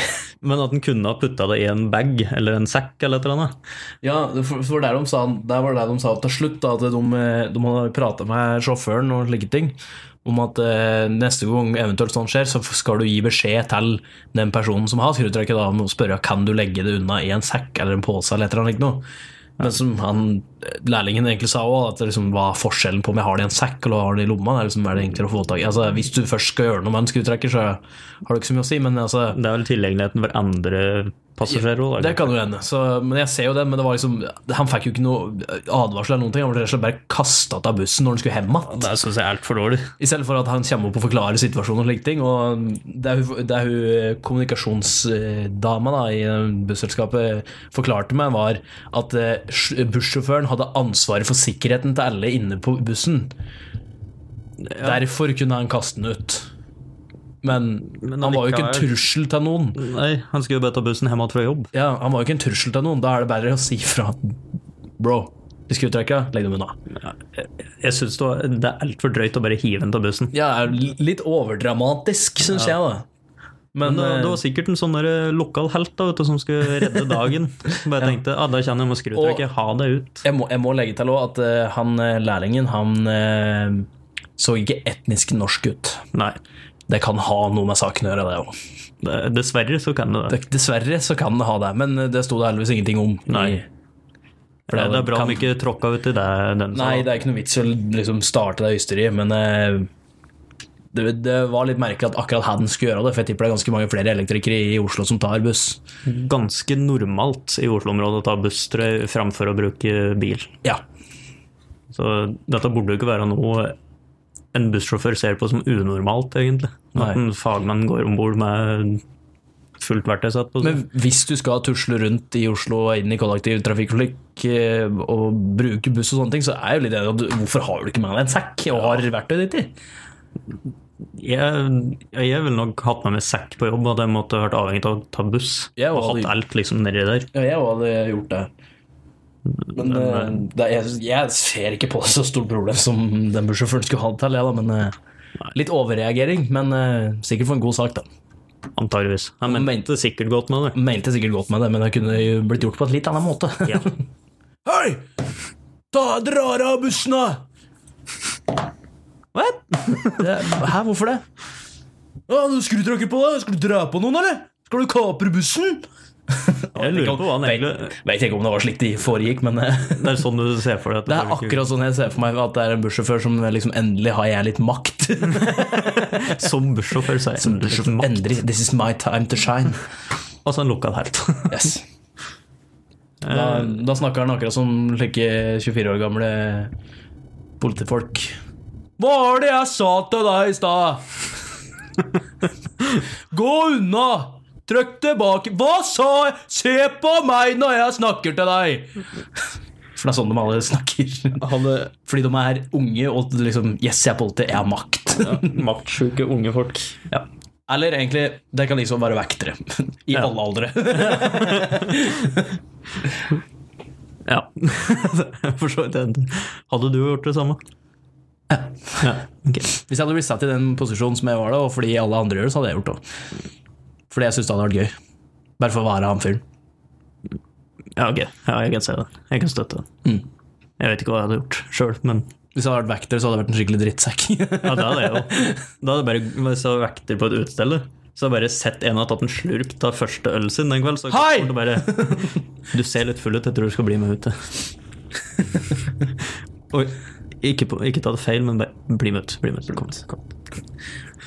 [SPEAKER 1] Men at den kunne ha putta det i en bag eller en sekk eller et eller annet.
[SPEAKER 3] Ja, for, for der, de sa, der var det der de sa til slutt da, at de, eh, de hadde prata med sjåføren og slike ting om at eh, neste gang eventuelt sånn skjer, så skal du gi beskjed til den personen som har skrutrekker da, om å spørre kan du legge det unna i en sekk eller en pose eller et eller annet. ikke noe. Men som han lærlingen egentlig sa òg, at det liksom var forskjellen på om jeg har det i en sekk eller har det i lomma. Det er liksom, er det enklere å få tak i. Altså, hvis du først skal gjøre noe med en skrutrekker, så har du ikke så mye å si. Men altså,
[SPEAKER 1] Det er vel tilgjengeligheten for andre passasjerer òg,
[SPEAKER 3] det kan jo hende. Så, men jeg ser jo det, men det var liksom, han fikk jo ikke noe advarsel eller noen ting. Han ble rett og slett bare kasta ut av bussen når han skulle hjem igjen.
[SPEAKER 1] Det syns jeg er altfor dårlig.
[SPEAKER 3] I stedet for at han kommer opp og forklarer situasjonen og slike ting. Og det er hun, det er hun kommunikasjonsdama da, i eh, busselskapet forklarte meg, var at eh, sj- bussjåføren hadde ansvaret for sikkerheten til alle inne på bussen. Derfor kunne han kaste den ut. Men,
[SPEAKER 1] Men
[SPEAKER 3] han var jo ikke en
[SPEAKER 1] allikevel-
[SPEAKER 3] trussel til noen.
[SPEAKER 1] Nei, han skulle jo bare ta bussen hjem igjen fra jobb.
[SPEAKER 3] Ja, han var jo ikke en trussel til noen. Da er det bedre å si fra. Bro, de skrutrekker, legg dem unna.
[SPEAKER 1] Jeg syns det var- det er altfor drøyt å bare hive den av bussen.
[SPEAKER 3] Ja, det er jo litt overdramatisk, syns jeg, da. Men,
[SPEAKER 1] Men det,
[SPEAKER 3] eh,
[SPEAKER 1] det var sikkert en sånn der lokal helt da, vet du, som skulle redde dagen. Som bare tenkte ah, da kjenner jeg må skru ut
[SPEAKER 3] Og-
[SPEAKER 1] trekket, ha det ut.
[SPEAKER 3] Jeg må, jeg må legge til også at eh, han eh, lærlingen, han eh, så ikke etnisk norsk ut.
[SPEAKER 1] Nei.
[SPEAKER 3] Det kan ha noe med saken å gjøre, det òg.
[SPEAKER 1] Det, dessverre så kan det det.
[SPEAKER 3] Dessverre så kan det ha det, men eh, det sto det heldigvis ingenting om. i-
[SPEAKER 1] Nei.
[SPEAKER 3] for
[SPEAKER 1] Det, det er bra
[SPEAKER 3] kan-
[SPEAKER 1] om ikke tråkka ut i det, den
[SPEAKER 3] Nei,
[SPEAKER 1] salen.
[SPEAKER 3] det er ikke noe vits i å liksom starte det ysteriet, men eh, det, det var litt merkelig at akkurat han skulle gjøre det, for jeg tipper det er ganske mange flere elektrikere i Oslo som tar buss.
[SPEAKER 1] ganske normalt i Oslo-området å ta buss tror jeg, framfor å bruke bil.
[SPEAKER 3] Ja.
[SPEAKER 1] Så dette burde jo ikke være noe en bussjåfør ser på som unormalt, egentlig.
[SPEAKER 3] Nei.
[SPEAKER 1] At en fagmann går om bord med fullt verktøy satt på.
[SPEAKER 3] Men hvis du skal tusle rundt i Oslo og inn i kollektivtrafikk og slik, eh, og bruke buss og sånne ting, så er jeg jo litt enig at du- hvorfor har du ikke med deg en sekk og har verktøyet ditt i?
[SPEAKER 1] Jeg, jeg ville nok hatt meg med sekk på jobb, og jeg måtte vært avhengig av å ta buss.
[SPEAKER 3] Jeg
[SPEAKER 1] og
[SPEAKER 3] hadde-
[SPEAKER 1] hatt alt liksom nedi der.
[SPEAKER 3] Ja, jeg hadde gjort det. Men eh, det, jeg, jeg ser ikke på det så stort problem som den bussjåføren skulle ha det til, jeg da, men eh, litt overreagering, men eh, sikkert for en god sak, da.
[SPEAKER 1] Antageligvis. Jeg mente,
[SPEAKER 3] mente-
[SPEAKER 1] sikkert godt med det.
[SPEAKER 3] Melte sikkert godt med det, men det kunne jo blitt gjort på en litt annen måte.
[SPEAKER 1] Ja.
[SPEAKER 3] Hei! Ta drar av bussen, da!
[SPEAKER 1] What?
[SPEAKER 3] Det, hæ, hvorfor det? Ja, du skrutrekker på deg, skal du drepe noen, eller? Skal du kapre bussen?
[SPEAKER 1] Jeg lurer på hva han egentlig
[SPEAKER 3] Vet ikke om det var slik de foregikk, men eh,
[SPEAKER 1] Det er sånn du ser for deg at
[SPEAKER 3] det er akkurat sånn jeg ser for meg at det er en bussjåfør som liksom endelig har jeg litt makt.
[SPEAKER 1] Som bussjåfør, så er jeg endelig makt.
[SPEAKER 3] Endelig, this is my time to shine.
[SPEAKER 1] Altså en lokal helt.
[SPEAKER 3] Yes. Eh, Da, da snakker han akkurat som slike 24 år gamle politifolk. Hva var det jeg sa til deg i stad? Gå unna! Trykk tilbake. Hva sa jeg? Se på meg når jeg snakker til deg! For det er sånn de alle snakker. Fordi de er unge og liksom Yes, jeg er politi, jeg har makt.
[SPEAKER 1] Maktsjuke unge folk.
[SPEAKER 3] Ja. Eller egentlig, det kan liksom være vektere. I
[SPEAKER 1] Ja.
[SPEAKER 3] alle aldre.
[SPEAKER 1] Ja. For så vidt enig. Hadde du gjort det samme? Ja. ok.
[SPEAKER 3] Hvis jeg hadde blitt satt i den posisjonen som jeg var da, og fordi alle andre gjør det, så hadde jeg gjort det. Fordi jeg syns det hadde vært gøy. Bare for å være han fyren.
[SPEAKER 1] Ja, ok. Ja, jeg kan se det. Jeg kan støtte det.
[SPEAKER 3] Mm.
[SPEAKER 1] Jeg vet ikke hva jeg hadde gjort sjøl, men
[SPEAKER 3] Hvis jeg hadde vært vekter, så hadde jeg vært en skikkelig drittsekk.
[SPEAKER 1] ja, det hadde jeg jo. Da hadde jeg bare hvis jeg hadde vekter på et utested, så hadde jeg bare sett en ha tatt en slurk av første øl sin den kvelden. Så
[SPEAKER 3] Hei!
[SPEAKER 1] kommer det bare Du ser litt full ut, jeg tror du skal bli med ut. jeg». Og ikke, på, ikke ta det feil, men bare bli med ut. Bli med ut. Kom, kom.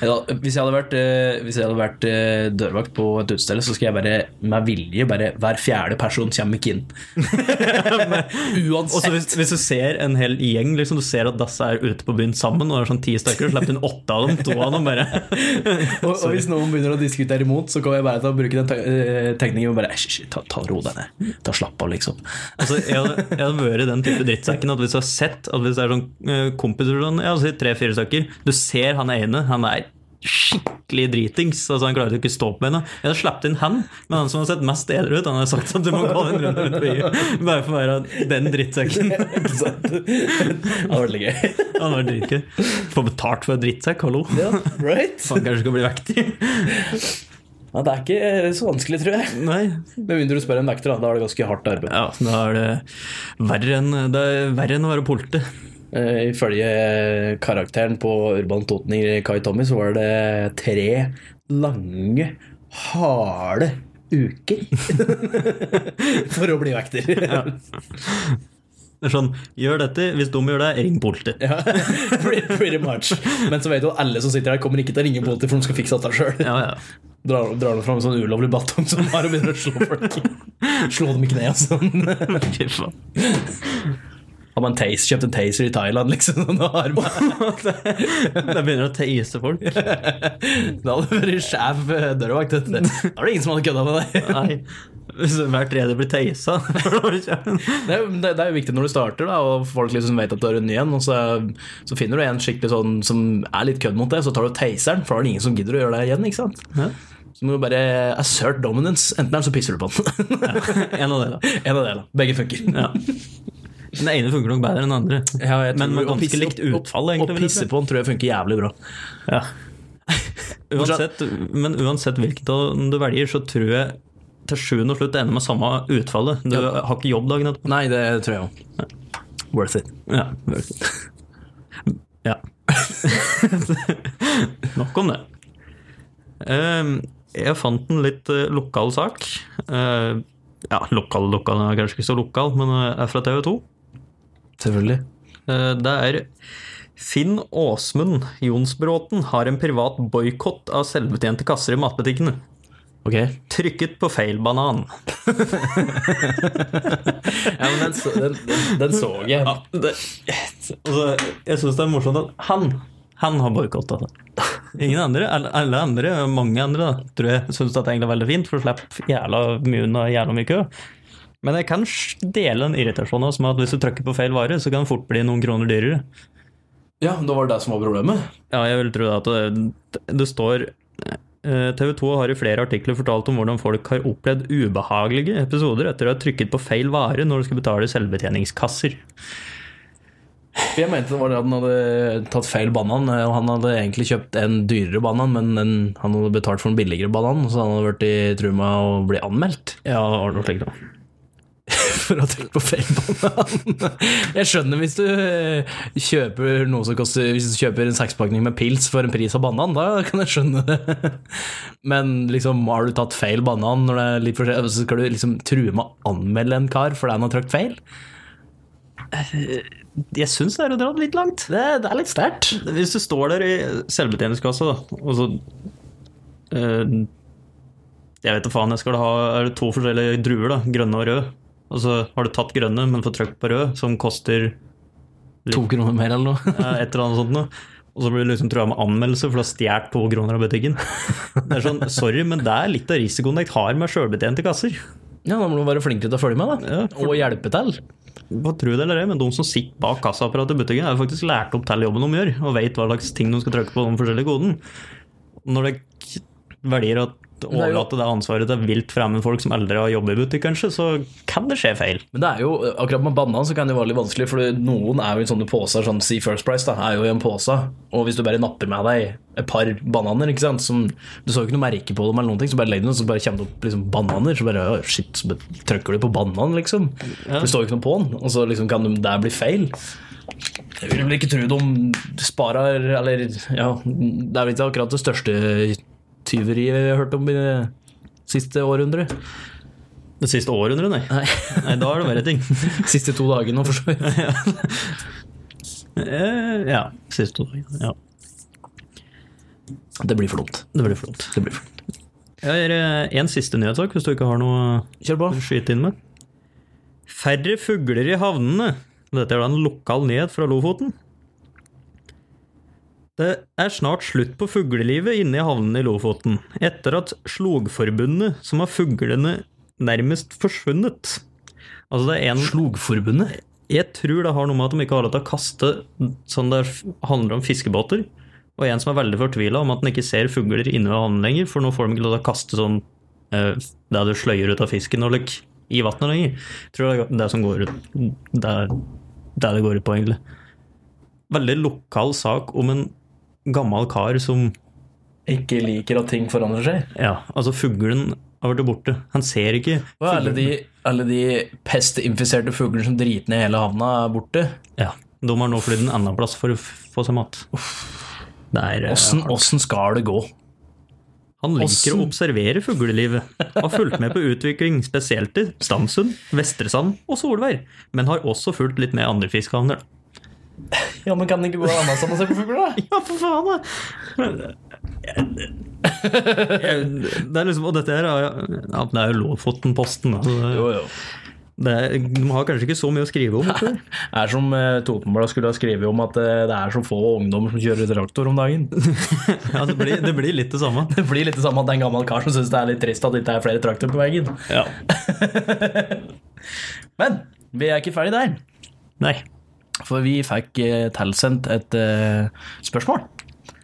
[SPEAKER 3] Ja, hvis jeg hadde vært, eh, hvis jeg hadde vært eh, dørvakt på et utested, så skal jeg bare med vilje bare Hver fjerde person kommer ikke inn.
[SPEAKER 1] Og så
[SPEAKER 3] Uansett.
[SPEAKER 1] hvis, hvis du ser en hel gjeng, liksom, du ser at disse er ute på byen sammen, og det er sånn ti stykker, og slipper inn åtte av dem, to av dem bare
[SPEAKER 3] Og, og hvis noen begynner å diskutere imot, så kommer jeg bare til å bruke den te- eh, teknikken og bare «Æsj, æsj, ta, ta ro deg ned. Ta slapp av, liksom.
[SPEAKER 1] altså, jeg, hadde, jeg hadde vært i den type drittsekken at hvis du har sett at hvis det er sånn eh, kompiser og sånn, ja, så tre-fire stykker, du ser han ene, han er skikkelig dritings, altså han klarer jo ikke å stå på beina. Jeg hadde sluppet inn han, men han som har sett mest edru ut, han har sagt at du må gå den runden rundt byen, bare for å være den drittsekken.
[SPEAKER 3] Ikke sant? Det var veldig gøy.
[SPEAKER 1] Han var dritgøy. Få betalt for en drittsekk, hallo.
[SPEAKER 3] Ja, right?
[SPEAKER 1] Faen, kanskje skal bli vektig.
[SPEAKER 3] Ja, det er ikke eh, så vanskelig, tror jeg.
[SPEAKER 1] Nei,
[SPEAKER 3] Med mindre du spør en vekter, da. Da er det ganske hardt arbeid.
[SPEAKER 1] Ja, da er det verre enn, det er verre enn å være politi.
[SPEAKER 3] Eh, Ifølge eh, karakteren på Urban Toten i Kai Tommy, så var det tre lange, harde uker for å bli vekter.
[SPEAKER 1] Det er Sånn, gjør dette, hvis de gjør det, ring politiet.
[SPEAKER 3] Ja, pretty, pretty much. Men så vet du at alle som sitter her, kommer ikke til å ringe politiet, for de skal fikse dette sjøl.
[SPEAKER 1] Ja, ja.
[SPEAKER 3] Drar, drar de fram en sånn ulovlig batong som de har og begynner å slå folk. Slå dem i kneet og sånn.
[SPEAKER 1] Fy faen.
[SPEAKER 3] Har man tas- kjøpt en taser i Thailand, liksom? Sånn, og har man-
[SPEAKER 1] Da begynner å teise folk.
[SPEAKER 3] da hadde det vært skjev eh, dørvakt. vet du. Da var det ingen som hadde kødda med deg.
[SPEAKER 1] Nei. Hvis hver tredje blir teisa
[SPEAKER 3] Det er, jo- det, det er jo viktig når du starter, da, og folk liksom vet at du er en ny en. Og så, så finner du en skikkelig sånn som er litt kødd mot det, så tar du taseren, for da er det ingen som gidder å gjøre det igjen. ikke sant?
[SPEAKER 1] Ja.
[SPEAKER 3] Så må du bare assert dominance. Enten eller så pisser du på den.
[SPEAKER 1] En av dere.
[SPEAKER 3] en av delene. Begge funker.
[SPEAKER 1] Ja. Den ene funker nok bedre enn den andre. Men med ganske likt utfall, egentlig. vil
[SPEAKER 3] Å
[SPEAKER 1] jeg
[SPEAKER 3] pisse
[SPEAKER 1] si.
[SPEAKER 3] på den tror jeg funker jævlig bra.
[SPEAKER 1] Ja. Uansett, men uansett hvilket av den du velger, så tror jeg til sjuende og slutt det ender med samme utfallet. Du har ikke jobb dagen etterpå.
[SPEAKER 3] Nei, det tror jeg òg. Worth it.
[SPEAKER 1] Ja. ja. Nok om det. Ehm, Jeg fant en litt eh, lokal sak. Eh, Ja, lokal lokal, den er kanskje ikke så lokal, men eh, er fra TV 2.
[SPEAKER 3] Selvfølgelig.
[SPEAKER 1] Eh, Det er Finn Åsmund Jonsbråten har en privat boikott av selvbetjente kasser i matbutikkene.
[SPEAKER 3] Ok.
[SPEAKER 1] Trykket på feil banan.
[SPEAKER 3] Ja, men den, så- den, den så jeg.
[SPEAKER 1] det, altså, jeg syns det er morsomt at han han har boikotta det. Ingen andre, alle- alle andre, mange andre, da, tror jeg syns det er egentlig veldig fint, for du slipper jævla mye unna jævla mye kø. Men jeg kan sj- dele den irritasjonen også med at hvis du trykker på feil vare, så kan det fort bli noen kroner dyrere.
[SPEAKER 3] Ja, det var det som var problemet.
[SPEAKER 1] Ja, jeg vil tro det at det, det står eh, TV 2 har i flere artikler fortalt om hvordan folk har opplevd ubehagelige episoder etter å ha trykket på feil vare når de skal betale selvbetjeningskasser.
[SPEAKER 3] For Jeg mente det var det at han hadde tatt feil banan, eh, og han hadde egentlig kjøpt en dyrere banan, men en, han hadde betalt for en billigere banan, så han hadde vært i trua med å bli anmeldt
[SPEAKER 1] Ja, har du noe slikt da?
[SPEAKER 3] for å ha trykt på feil banan. Jeg skjønner hvis du eh, kjøper noe som koster Hvis du kjøper en sekspakning med pils for en pris av banan, da kan jeg skjønne det. Men liksom, har du tatt feil banan, når det er litt for sent, så skal du liksom true med å anmelde en kar fordi han har trykt feil?
[SPEAKER 1] Jeg syns det er å dra det litt langt.
[SPEAKER 3] Det, det er litt sterkt.
[SPEAKER 1] Hvis du står der i selvbetjeningskassa, da, og så eh, Jeg vet da faen, jeg skal ha er det to forskjellige druer, da, grønne og røde. Og så har du tatt grønne, men får trykk på rød, som koster eh,
[SPEAKER 3] To kroner mer eller noe.
[SPEAKER 1] et eller annet sånt noe. Og så blir du liksom trua med anmeldelse for å ha stjålet to kroner av butikken. Det er sånn, Sorry, men det er litt av risikoen jeg har med sjølbetjente kasser.
[SPEAKER 3] Ja, da må du være flinkere til å følge med, da.
[SPEAKER 1] Ja, for-
[SPEAKER 3] Og hjelpe til.
[SPEAKER 1] Hva tror du det eller ei, men De som sitter bak kassaapparatet i butikken, er jo faktisk lært opp til jobben de gjør, og vet hva slags ting de skal trykke på de forskjellige koden. Når de k- velger å overlate det ansvaret til vilt fremmede folk som aldri har jobbet i butikk, kanskje, så kan det skje feil.
[SPEAKER 3] Men det er jo, akkurat med banan så kan det være litt vanskelig, for noen er jo i sånne poser, sånn Sea First Price da, er jo i en pose, og hvis du bare napper med deg et par bananer, ikke sant, som du så jo ikke noe merke på dem eller noen ting, så bare legger du dem, så bare kommer det opp liksom bananer, så bare, «Å, shit, så bare trykker du på bananen, liksom. For det står jo ikke noe på den, og så liksom kan det bli feil. Jeg vil vel ikke tro de sparer, eller, ja, det er vel ikke akkurat det største tyveriet jeg har hørt om i det siste århundret.
[SPEAKER 1] Det siste århundret, nei.
[SPEAKER 3] Nei.
[SPEAKER 1] Nei, da er det verre ting.
[SPEAKER 3] Siste to dagene, for så vidt.
[SPEAKER 1] Eh, Ja. Siste år. Ja,
[SPEAKER 3] Det blir for dumt.
[SPEAKER 1] det blir flott.
[SPEAKER 3] Det blir for dumt.
[SPEAKER 1] Jeg har eh, en siste nyhetssak, hvis du ikke har noe
[SPEAKER 3] Kjør på.
[SPEAKER 1] å skyte inn med. Færre fugler i havnene. Dette er da en lokal nyhet fra Lofoten. Det er snart slutt på fuglelivet inne i havnene i Lofoten, etter at Slogforbundet, som har fuglene nærmest forsvunnet Altså det er en
[SPEAKER 3] Slogforbundet?
[SPEAKER 1] Jeg tror det har noe med at de ikke har lov til å kaste sånn det handler om fiskebåter. Og en som er veldig fortvila om at han ikke ser fugler inne ved havnen lenger, for nå får de ikke lov til å kaste sånn eh, det du sløyer ut av fisken og lik i vannet lenger. Tror det er det som går ut Det er det det går ut på, egentlig. Veldig lokal sak om en gammel kar som
[SPEAKER 3] Ikke liker at ting forandrer seg.
[SPEAKER 1] Ja, altså fuglen har vært borte. Han ser ikke.
[SPEAKER 3] Og alle de, alle de pestinfiserte fuglene som driter ned hele havna, er borte.
[SPEAKER 1] Ja, De har nå flydd en annen plass for å f- få seg mat. Det er eh,
[SPEAKER 3] Åssen skal det gå?
[SPEAKER 1] Han liker
[SPEAKER 3] Åssen?
[SPEAKER 1] å observere fuglelivet. Har fulgt med på utvikling, spesielt i Stamsund, Vestresand og Solvær. Men har også fulgt litt med andre fiskehavner.
[SPEAKER 3] Ja, men kan det ikke gå annet sammen og se på fugler, da?
[SPEAKER 1] Ja, for faen, da! Det er liksom, og dette her er, ja, det er jo Lofotenposten. da, så det-
[SPEAKER 3] Jo, jo.
[SPEAKER 1] altså. det er- De har kanskje ikke så mye å skrive om. vet du.
[SPEAKER 3] Det er som eh, Totenbladet skulle ha skrevet om at eh, det er så få ungdommer som kjører traktor om dagen.
[SPEAKER 1] Ja, det, blir, det blir litt det samme.
[SPEAKER 3] Det blir litt det samme at det er en gammel kar som syns det er litt trist at det ikke er flere traktorer på veien.
[SPEAKER 1] Ja.
[SPEAKER 3] Men vi er ikke ferdig der,
[SPEAKER 1] Nei.
[SPEAKER 3] for vi fikk eh, tilsendt et eh, spørsmål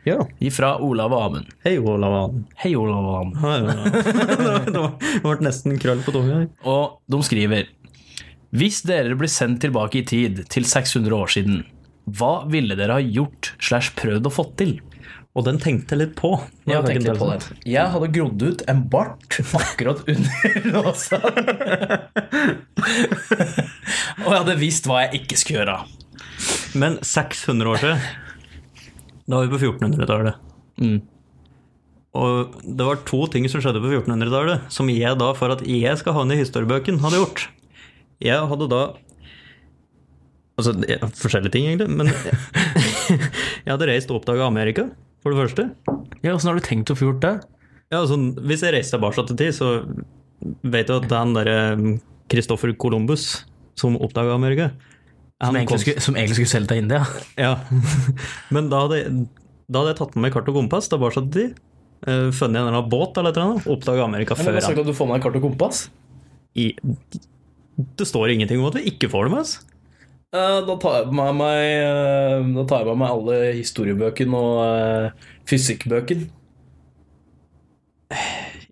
[SPEAKER 1] Ja.
[SPEAKER 3] fra Olav og Amund.
[SPEAKER 1] Hei, Olav. Ahn.
[SPEAKER 3] Hei, Olav og Amund.
[SPEAKER 1] Ja, ja, ja. Det var- det ble nesten krøll på tunga. her.
[SPEAKER 3] Og de skriver Hvis dere ble sendt tilbake i tid, til 600 år siden, hva ville dere ha gjort slash prøvd å fått til?
[SPEAKER 1] Og den tenkte jeg litt på.
[SPEAKER 3] Jeg tenkte på det. Jeg hadde grodd ut en bart akkurat under låsa. Og jeg hadde visst hva jeg ikke skulle gjøre.
[SPEAKER 1] Men 600 år siden, da var vi på 1400-tallet.
[SPEAKER 3] Mm.
[SPEAKER 1] Og det var to ting som skjedde på 1400-tallet, som jeg da, for at jeg skal havne i historiebøken, hadde gjort. Jeg hadde da Altså, det er forskjellige ting, egentlig, men Jeg hadde reist og oppdaga Amerika, for det første.
[SPEAKER 3] Ja, Åssen har du tenkt å få gjort det?
[SPEAKER 1] Ja, altså, hvis jeg reiser tilbake til tid, så vet du at det er han derre Christoffer Columbus som oppdaga Amerika.
[SPEAKER 3] Som
[SPEAKER 1] Han
[SPEAKER 3] egentlig,
[SPEAKER 1] kom-
[SPEAKER 3] skulle, som egentlig skulle selge til India?
[SPEAKER 1] Ja. Men da hadde, da hadde jeg tatt med meg kart og kompass tilbake til tid. eh, Funnet en eller annen båt eller et eller annet, oppdaga Amerika før han.
[SPEAKER 3] at du får med deg kart og kompass.
[SPEAKER 1] I, det står ingenting om at vi ikke får det med oss.
[SPEAKER 3] Eh, Da tar jeg med meg, eh, da tar jeg med meg alle historiebøkene og eh, fysikkbøkene.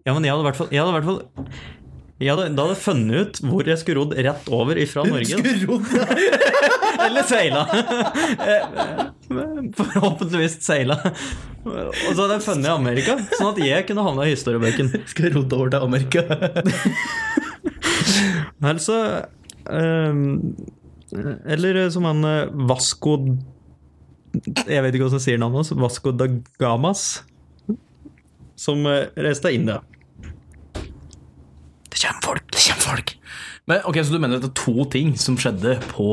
[SPEAKER 1] Ja, men jeg hadde i hvert fall, jeg hadde i hvert fall jeg hadde, Da hadde jeg funnet ut hvor jeg skulle rodd rett over ifra Norge. Eller seila! Eh, Forhåpentligvis seila. Og så hadde jeg funnet Amerika, sånn at jeg kunne havna i historiebøken.
[SPEAKER 3] Skal rodde over til Amerika.
[SPEAKER 1] Eller så ehm, Eller som han eh, Vasco Jeg vet ikke hvordan han sier navnet hans. Vasco da Gamas. Som eh, reiste til India.
[SPEAKER 3] Det kommer folk! Det kommer folk! Men ok, Så du mener at det er to ting som skjedde på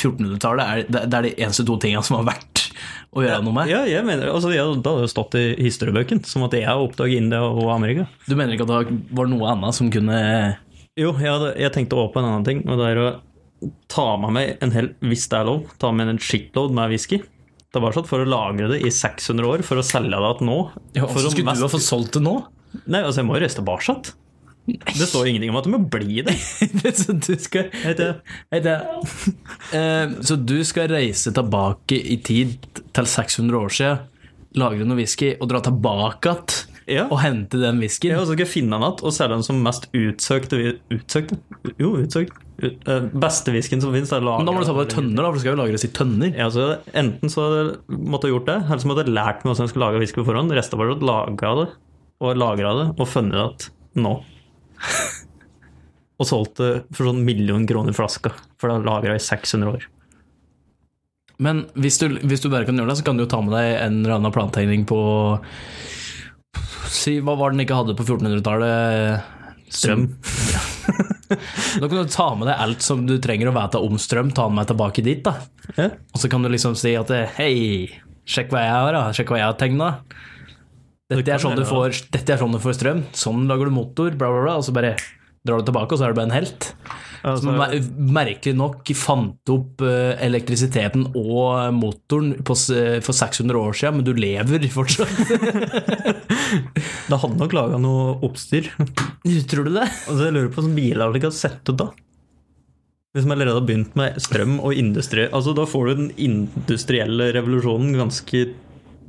[SPEAKER 3] 1400-tallet? Er, det- det er de eneste to tingene som har vært å gjøre noe med?
[SPEAKER 1] Ja, jeg mener, altså, jeg, Da hadde det stått i historiebøkene, som at jeg oppdaget India og Amerika.
[SPEAKER 3] Du mener ikke at det var noe annet som kunne
[SPEAKER 1] Jo, jeg, hadde, jeg tenkte også på en annen ting, og det er å ta med meg en hel, hvis det er lov, ta med en shitload med whisky. Det var sånn for å lagre det i 600 år, for å selge det igjen nå.
[SPEAKER 3] ja,
[SPEAKER 1] for å
[SPEAKER 3] Skulle
[SPEAKER 1] mest-
[SPEAKER 3] du ha fått solgt det nå?
[SPEAKER 1] Nei, altså jeg må jo reise tilbake. Det står ingenting om at du må bli det.
[SPEAKER 3] Det er så du skal
[SPEAKER 1] Vet du.
[SPEAKER 3] Hei, det. Eh, Så du skal reise tilbake i tid til 600 år siden, lagre noe whisky og dra tilbake igjen
[SPEAKER 1] Ja.
[SPEAKER 3] og hente den whiskyen?
[SPEAKER 1] Jeg også skal finne den igjen og selge den som mest utsøkte vi- Utsøkte? Jo, utsøkt. Ut, eh, beste whiskyen som finnes.
[SPEAKER 3] Men da må du ta på deg tønner, da, for det skal jo lagres i tønner.
[SPEAKER 1] Ja, så jeg- enten så hadde jeg måttet gjort det, eller så måtte jeg lært meg hvordan jeg skulle lage whisky på forhånd. Resten var å lage det, og lagre det, og funnet det igjen nå. Og solgt det for sånn million kroner flaska, for det er lagra i 600 år.
[SPEAKER 3] Men hvis du, hvis du bare kan gjøre det, så kan du jo ta med deg en eller annen plantegning på Si, hva var det den ikke hadde på 1400-tallet?
[SPEAKER 1] Strøm.
[SPEAKER 3] Da kan du ta med deg alt som du trenger å vite om strøm, ta den med tilbake dit, da.
[SPEAKER 1] Ja.
[SPEAKER 3] Og så kan du liksom si at hei, sjekk hva jeg har, da. Sjekk hva jeg har tegna.
[SPEAKER 1] Det
[SPEAKER 3] Dette,
[SPEAKER 1] kan
[SPEAKER 3] er sånn du
[SPEAKER 1] være, da.
[SPEAKER 3] får- dette er sånn du får strøm. Sånn lager du motor, bla, bla, bla. Og så bare drar du tilbake, og så er du bare en helt. Som
[SPEAKER 1] Altså,
[SPEAKER 3] mer- merkelig nok fant opp eh, elektrisiteten og motoren på, s- for 600 år siden, men du lever fortsatt.
[SPEAKER 1] det hadde nok laga noe oppstyr.
[SPEAKER 3] Tror du det?
[SPEAKER 1] Altså, jeg lurer på hvordan biler hadde ikke hadde sett ut da. Hvis man allerede har begynt med strøm og industri Altså, Da får du den industrielle revolusjonen ganske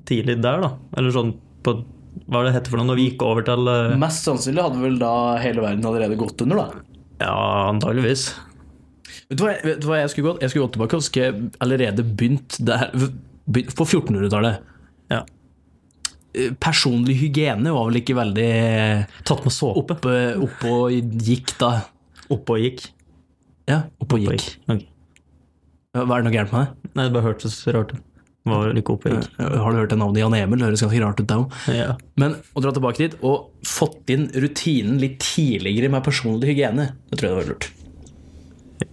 [SPEAKER 1] tidlig der, da. Eller sånn på Hva er det hette for noe når vi gikk over til eh,
[SPEAKER 3] Mest sannsynlig hadde vel da hele verden allerede gått under, da.
[SPEAKER 1] Ja, antageligvis.
[SPEAKER 3] Vet du hva, jeg- vet du hva jeg skulle gått? Jeg skulle gått tilbake og skulle allerede begynt der begynt På 1400-tallet.
[SPEAKER 1] Ja.
[SPEAKER 3] Eh, Personlig hygiene var vel ikke veldig
[SPEAKER 1] Tatt med såpe.
[SPEAKER 3] oppe, oppe og gikk da.
[SPEAKER 1] Oppe og gikk.
[SPEAKER 3] Ja, oppe og
[SPEAKER 1] Oppe og
[SPEAKER 3] gikk.
[SPEAKER 1] gikk. Ok.
[SPEAKER 3] Hva er det noe gærent med det?
[SPEAKER 1] Nei, det bare hørtes rart ut. Var like opphengt.
[SPEAKER 3] Har du hørt det navnet Jan Emil? Det høres ganske rart ut, det òg.
[SPEAKER 1] Ja.
[SPEAKER 3] Men å dra tilbake dit og fått inn rutinen litt tidligere med personlig hygiene, det tror jeg det var lurt.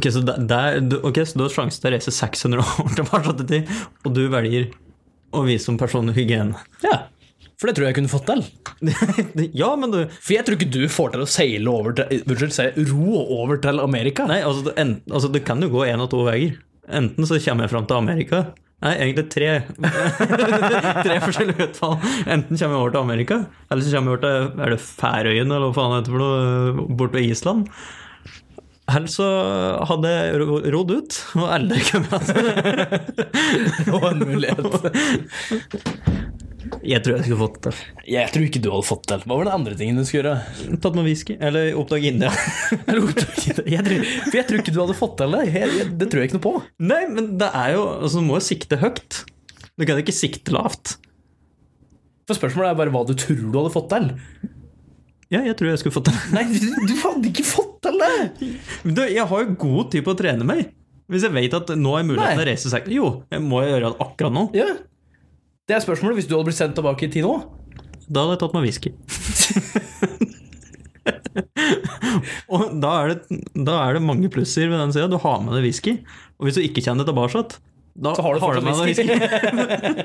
[SPEAKER 1] Ok, så det, det er, du- ok, så du har sjanse til å reise 600 år tilbake til tid, og du velger å vise om personlig hygiene.
[SPEAKER 3] Ja, for det tror jeg jeg kunne fått til.
[SPEAKER 1] ja, men du
[SPEAKER 3] For jeg tror ikke du får til å seile over til Unnskyld, sier jeg, ro over til Amerika.
[SPEAKER 1] Nei, altså, det- enten, altså det kan jo gå én av to veier. Enten så kommer jeg fram til Amerika. Nei, egentlig tre. tre forskjellige utfall. Enten kommer jeg over til Amerika, eller så kommer jeg over til er det Færøyene, eller hva faen heter det for noe, bort ved Island. Eller så hadde jeg ro- rodd ut, og aldri kommet til
[SPEAKER 3] Og en mulighet.
[SPEAKER 1] Jeg tror jeg skulle fått det.
[SPEAKER 3] Jeg tror ikke du hadde fått til. Hva var den andre tingen du skulle gjøre?
[SPEAKER 1] Tatt med whisky, eller oppdag India.
[SPEAKER 3] Jeg tror, jeg tror, for jeg tror ikke du hadde fått til det. Jeg, jeg, det tror jeg ikke noe på.
[SPEAKER 1] Nei, men det er jo altså, Du må jo sikte høyt. Du kan ikke sikte lavt.
[SPEAKER 3] For spørsmålet er bare hva du tror du hadde fått til.
[SPEAKER 1] Ja, jeg tror jeg skulle fått det.
[SPEAKER 3] Nei, du, du hadde ikke fått til det!
[SPEAKER 1] Men Du, jeg har jo god tid på å trene meg. Hvis jeg vet at nå er muligheten
[SPEAKER 3] Nei.
[SPEAKER 1] til å reise seg Jo, jeg må jeg gjøre det akkurat nå.
[SPEAKER 3] Ja. Det er spørsmålet hvis du hadde blitt sendt tilbake i tid nå.
[SPEAKER 1] Da hadde jeg tatt meg whisky. og da er, det, da er det mange plusser ved den sida. Du har med deg whisky. Og hvis du ikke kjenner det tilbake, da
[SPEAKER 3] Så har du fortsatt
[SPEAKER 1] med deg
[SPEAKER 3] whisky.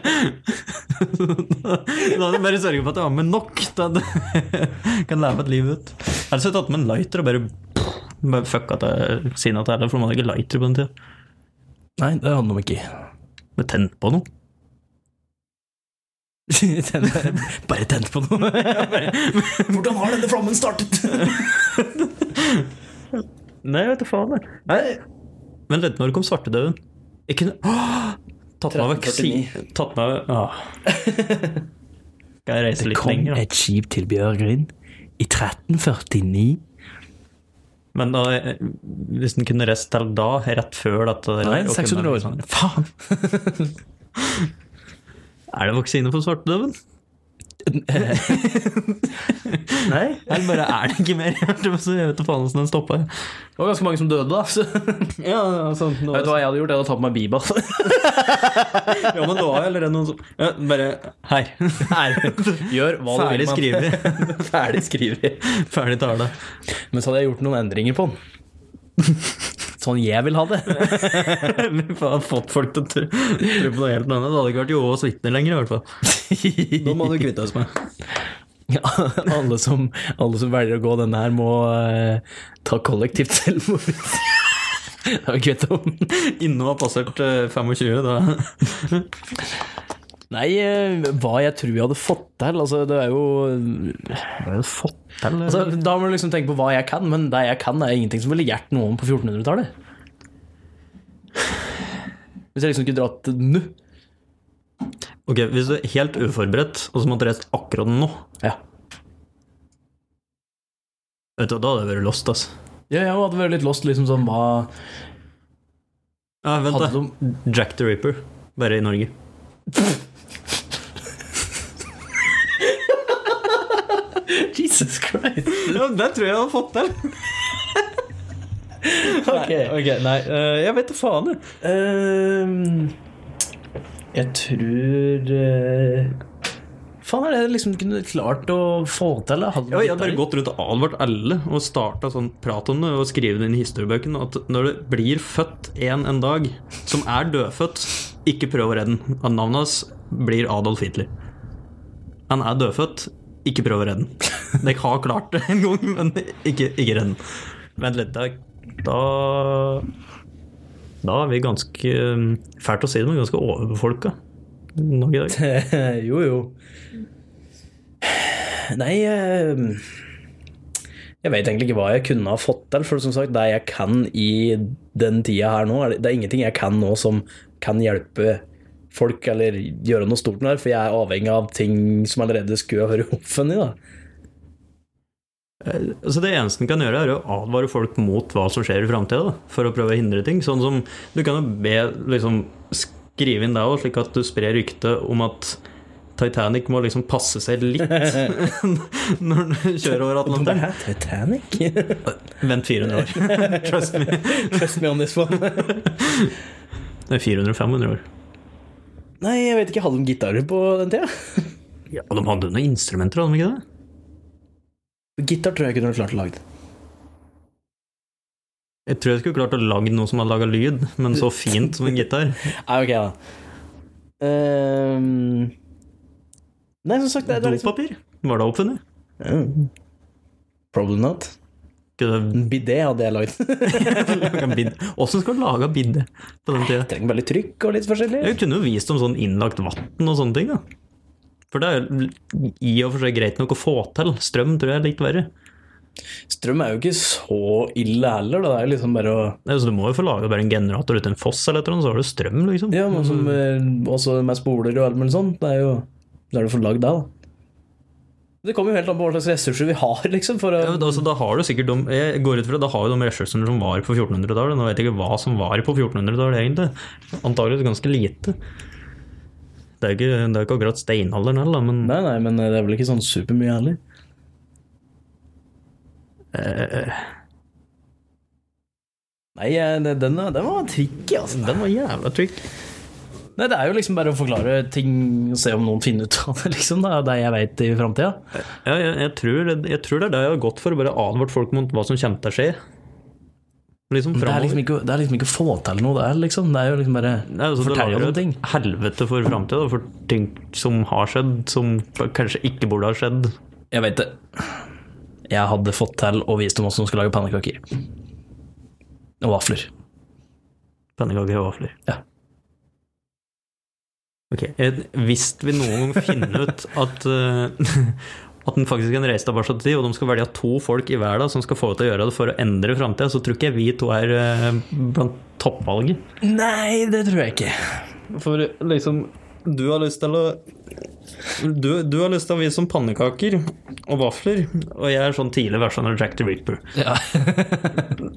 [SPEAKER 1] Da hadde jeg bare sørget for at jeg har med nok til at jeg kan leve et liv ut. Ellers hadde jeg tatt med en lighter og bare, bare fucka til sinna til alle, for de hadde ikke lighter på den tida.
[SPEAKER 3] Nei, det hadde de ikke.
[SPEAKER 1] Bare tent på noe.
[SPEAKER 3] bare tent på noe. Hvordan har denne flammen startet?
[SPEAKER 1] Nei, jeg vet ikke faen. jeg. Men vent når det kom svartedauden. Jeg kunne Åh! tatt meg vaksine
[SPEAKER 3] 1349.
[SPEAKER 1] Tatt meg Åh. Skal jeg reise litt lenger, da?
[SPEAKER 2] et skip til Bjørgvin i 1349.
[SPEAKER 1] Men da, eh, hvis den kunne reist til da, rett før dette der,
[SPEAKER 3] Nei,
[SPEAKER 1] og kunne
[SPEAKER 3] 600 år.
[SPEAKER 1] vært sånn, Faen! er det vaksine for svartedauden?
[SPEAKER 3] Nei.
[SPEAKER 1] Eller bare er det ikke mer? Jeg vet ikke faen hvordan den stoppa.
[SPEAKER 3] Det var ganske mange som døde, da. Så.
[SPEAKER 1] Ja, altså,
[SPEAKER 3] Vet du hva jeg hadde gjort? Jeg hadde tatt på meg Biba.
[SPEAKER 1] ja, men det var eller er det noen som ja, Bare her.
[SPEAKER 3] Gjør hva
[SPEAKER 1] Ferdig
[SPEAKER 3] du vil.
[SPEAKER 1] skriver.
[SPEAKER 3] Skriver. Ferdig skriver.
[SPEAKER 1] Ferdig tale.
[SPEAKER 3] Men så hadde jeg gjort noen endringer på den. Sånn jeg vil ha det.
[SPEAKER 1] Eller faen, fått folk til å tro tro på noe helt annet. Det hadde ikke vært Jehovas vitner lenger, i hvert fall. Nå må du kvitte oss med.
[SPEAKER 3] Ja, alle som, alle som velger å gå denne her, må eh, ta kollektivt selvmord. Det har vi kvittet om.
[SPEAKER 1] Inne og har passert eh, 25, da.
[SPEAKER 3] Nei, eh, hva jeg tror jeg hadde fått til Altså, det er jo altså, Da må du liksom tenke på hva jeg kan, men det jeg kan, er ingenting som ville hjulpet noen på 1400-tallet. Hvis jeg liksom ikke dratt nå.
[SPEAKER 1] Ok, Hvis du er helt uforberedt, og så måtte reist akkurat nå
[SPEAKER 3] Ja.
[SPEAKER 1] Vet du, hva, Da hadde jeg vært lost, altså.
[SPEAKER 3] ja, jeg hadde vært litt lost, liksom sånn hva
[SPEAKER 1] Ja, vent,
[SPEAKER 3] Hadde
[SPEAKER 1] da.
[SPEAKER 3] de
[SPEAKER 1] Jack the Ripper. Bare i Norge.
[SPEAKER 3] Jesus Christ!
[SPEAKER 1] Ja, Det tror jeg jeg hadde fått til.
[SPEAKER 3] Ok.
[SPEAKER 1] Ok, Nei, eh, jeg vet da faen. jeg.
[SPEAKER 3] Ehm, jeg tror eh, Faen, er det liksom kunne klart å få til? eller? Hadde
[SPEAKER 1] Ja, jeg
[SPEAKER 3] blitt
[SPEAKER 1] hadde bare
[SPEAKER 3] der?
[SPEAKER 1] gått rundt og advart alle og starta sånn prat om det og skrevet det inn i historiebøkene at når det blir født en en dag som er dødfødt, ikke prøv å redde den. At Navnet hans blir Adolf Hitler. Han er dødfødt, ikke prøv å redde den. Dere har klart det en gang, men ikke, ikke redd den. Vent litt, da, da Da er vi ganske eh, Fælt å si det, men ganske overbefolka. Nok i dag.
[SPEAKER 3] jo, jo. Nei ehm, Jeg vet egentlig ikke hva jeg kunne ha fått til. For som sagt, det jeg kan i den tida her nå, er det, det er ingenting jeg kan nå som kan hjelpe folk eller gjøre noe stort med det. her, For jeg er avhengig av ting som allerede skulle ha vært offentlig. da.
[SPEAKER 1] Altså Det eneste en kan gjøre, er å advare folk mot hva som skjer i framtida, for å prøve å hindre ting. Sånn som Du kan jo be liksom, skrive inn deg òg, slik at du sprer rykte om at Titanic må liksom passe seg litt når den kjører over Atlanteren.
[SPEAKER 3] Hæ, Titanic?
[SPEAKER 1] Vent 400 år. Trust me.
[SPEAKER 3] Trust me on this one.
[SPEAKER 1] Det er 400-500 år.
[SPEAKER 3] Nei, jeg vet ikke. Hadde de gitarer på den tida?
[SPEAKER 1] Ja, og de hadde jo noen instrumenter, hadde de ikke det?
[SPEAKER 3] Gitar tror jeg ikke du hadde klart å lage.
[SPEAKER 1] Jeg tror jeg skulle klart å lage noe som hadde laga lyd, men så fint som en gitar.
[SPEAKER 3] Nei, ok, da. Ehm, Nei, som sagt, det er liksom
[SPEAKER 1] Dopapir? Var det oppfunnet?
[SPEAKER 3] Mm. Probably not.
[SPEAKER 1] Skulle
[SPEAKER 3] En Bidé hadde jeg lagd.
[SPEAKER 1] du lage en bid- Hvordan skal du lage en bidde på den tida?
[SPEAKER 3] Trenger bare litt trykk og litt forskjellig.
[SPEAKER 1] Jeg kunne jo vist om sånn innlagt vann og sånne ting, da. For det er jo i og for seg greit nok å få til. Strøm tror jeg er litt verre.
[SPEAKER 3] Strøm er jo ikke så ille heller. Da. Det er jo liksom bare å
[SPEAKER 1] Nei, så du må jo få laga bare en generator uten en foss eller et eller annet, så har du strøm, liksom.
[SPEAKER 3] Ja, men som, eh, også med spoler og alt mulig sånt. Det er jo Så er det for lagd da, da. Det kommer jo helt an på hva slags ressurser vi har, liksom. For
[SPEAKER 1] Ja,
[SPEAKER 3] å,
[SPEAKER 1] men altså, da har du sikkert de, jeg går ut fra, da har jo de ressursene som var på 1400-tallet. Nå vet jeg ikke hva som var på 1400-tallet, egentlig. Antakeligvis ganske lite. Det er jo ikke, det er jo ikke akkurat steinalderen heller, da, men
[SPEAKER 3] nei, nei, men det er vel ikke sånn supermye heller. Eh. Nei, eh, det- den, er- den var tricky, altså.
[SPEAKER 1] den var jævla trykk.
[SPEAKER 3] Nei, det er jo liksom bare å forklare ting og se om noen finner ut av det, liksom. Det er det jeg veit i framtida.
[SPEAKER 1] Ja, jeg, jeg, tror, jeg tror det er det jeg har gått for, å bare advart folk mot hva som kommer til å skje. Liksom
[SPEAKER 3] Det er
[SPEAKER 1] framover.
[SPEAKER 3] liksom ikke, det er liksom ikke å få til noe der, liksom. Det er jo liksom bare
[SPEAKER 1] Nei, altså, det
[SPEAKER 3] Fortell
[SPEAKER 1] lager
[SPEAKER 3] om
[SPEAKER 1] et
[SPEAKER 3] ting.
[SPEAKER 1] Helvete for framtida, for ting som har skjedd, som kanskje ikke burde ha skjedd.
[SPEAKER 3] Jeg vet det. Jeg hadde fått til og vist dem hvordan de skulle lage pannekaker. Og vafler.
[SPEAKER 1] Pennekaker og vafler.
[SPEAKER 3] Ja.
[SPEAKER 1] Ok, eh, Hvis vi noen gang finner ut at eh, At den faktisk kan reise tilbake til tid, og de skal velge to folk i verden som skal få ut til å gjøre det for å endre framtida, så tror ikke jeg vi to er eh, blant toppvalget.
[SPEAKER 3] Nei, det tror jeg ikke.
[SPEAKER 1] For liksom Du har lyst til å Du, du har lyst til å vise som pannekaker og vafler, og jeg er sånn tidlig versjon av Jack the Ripper.
[SPEAKER 3] Ja.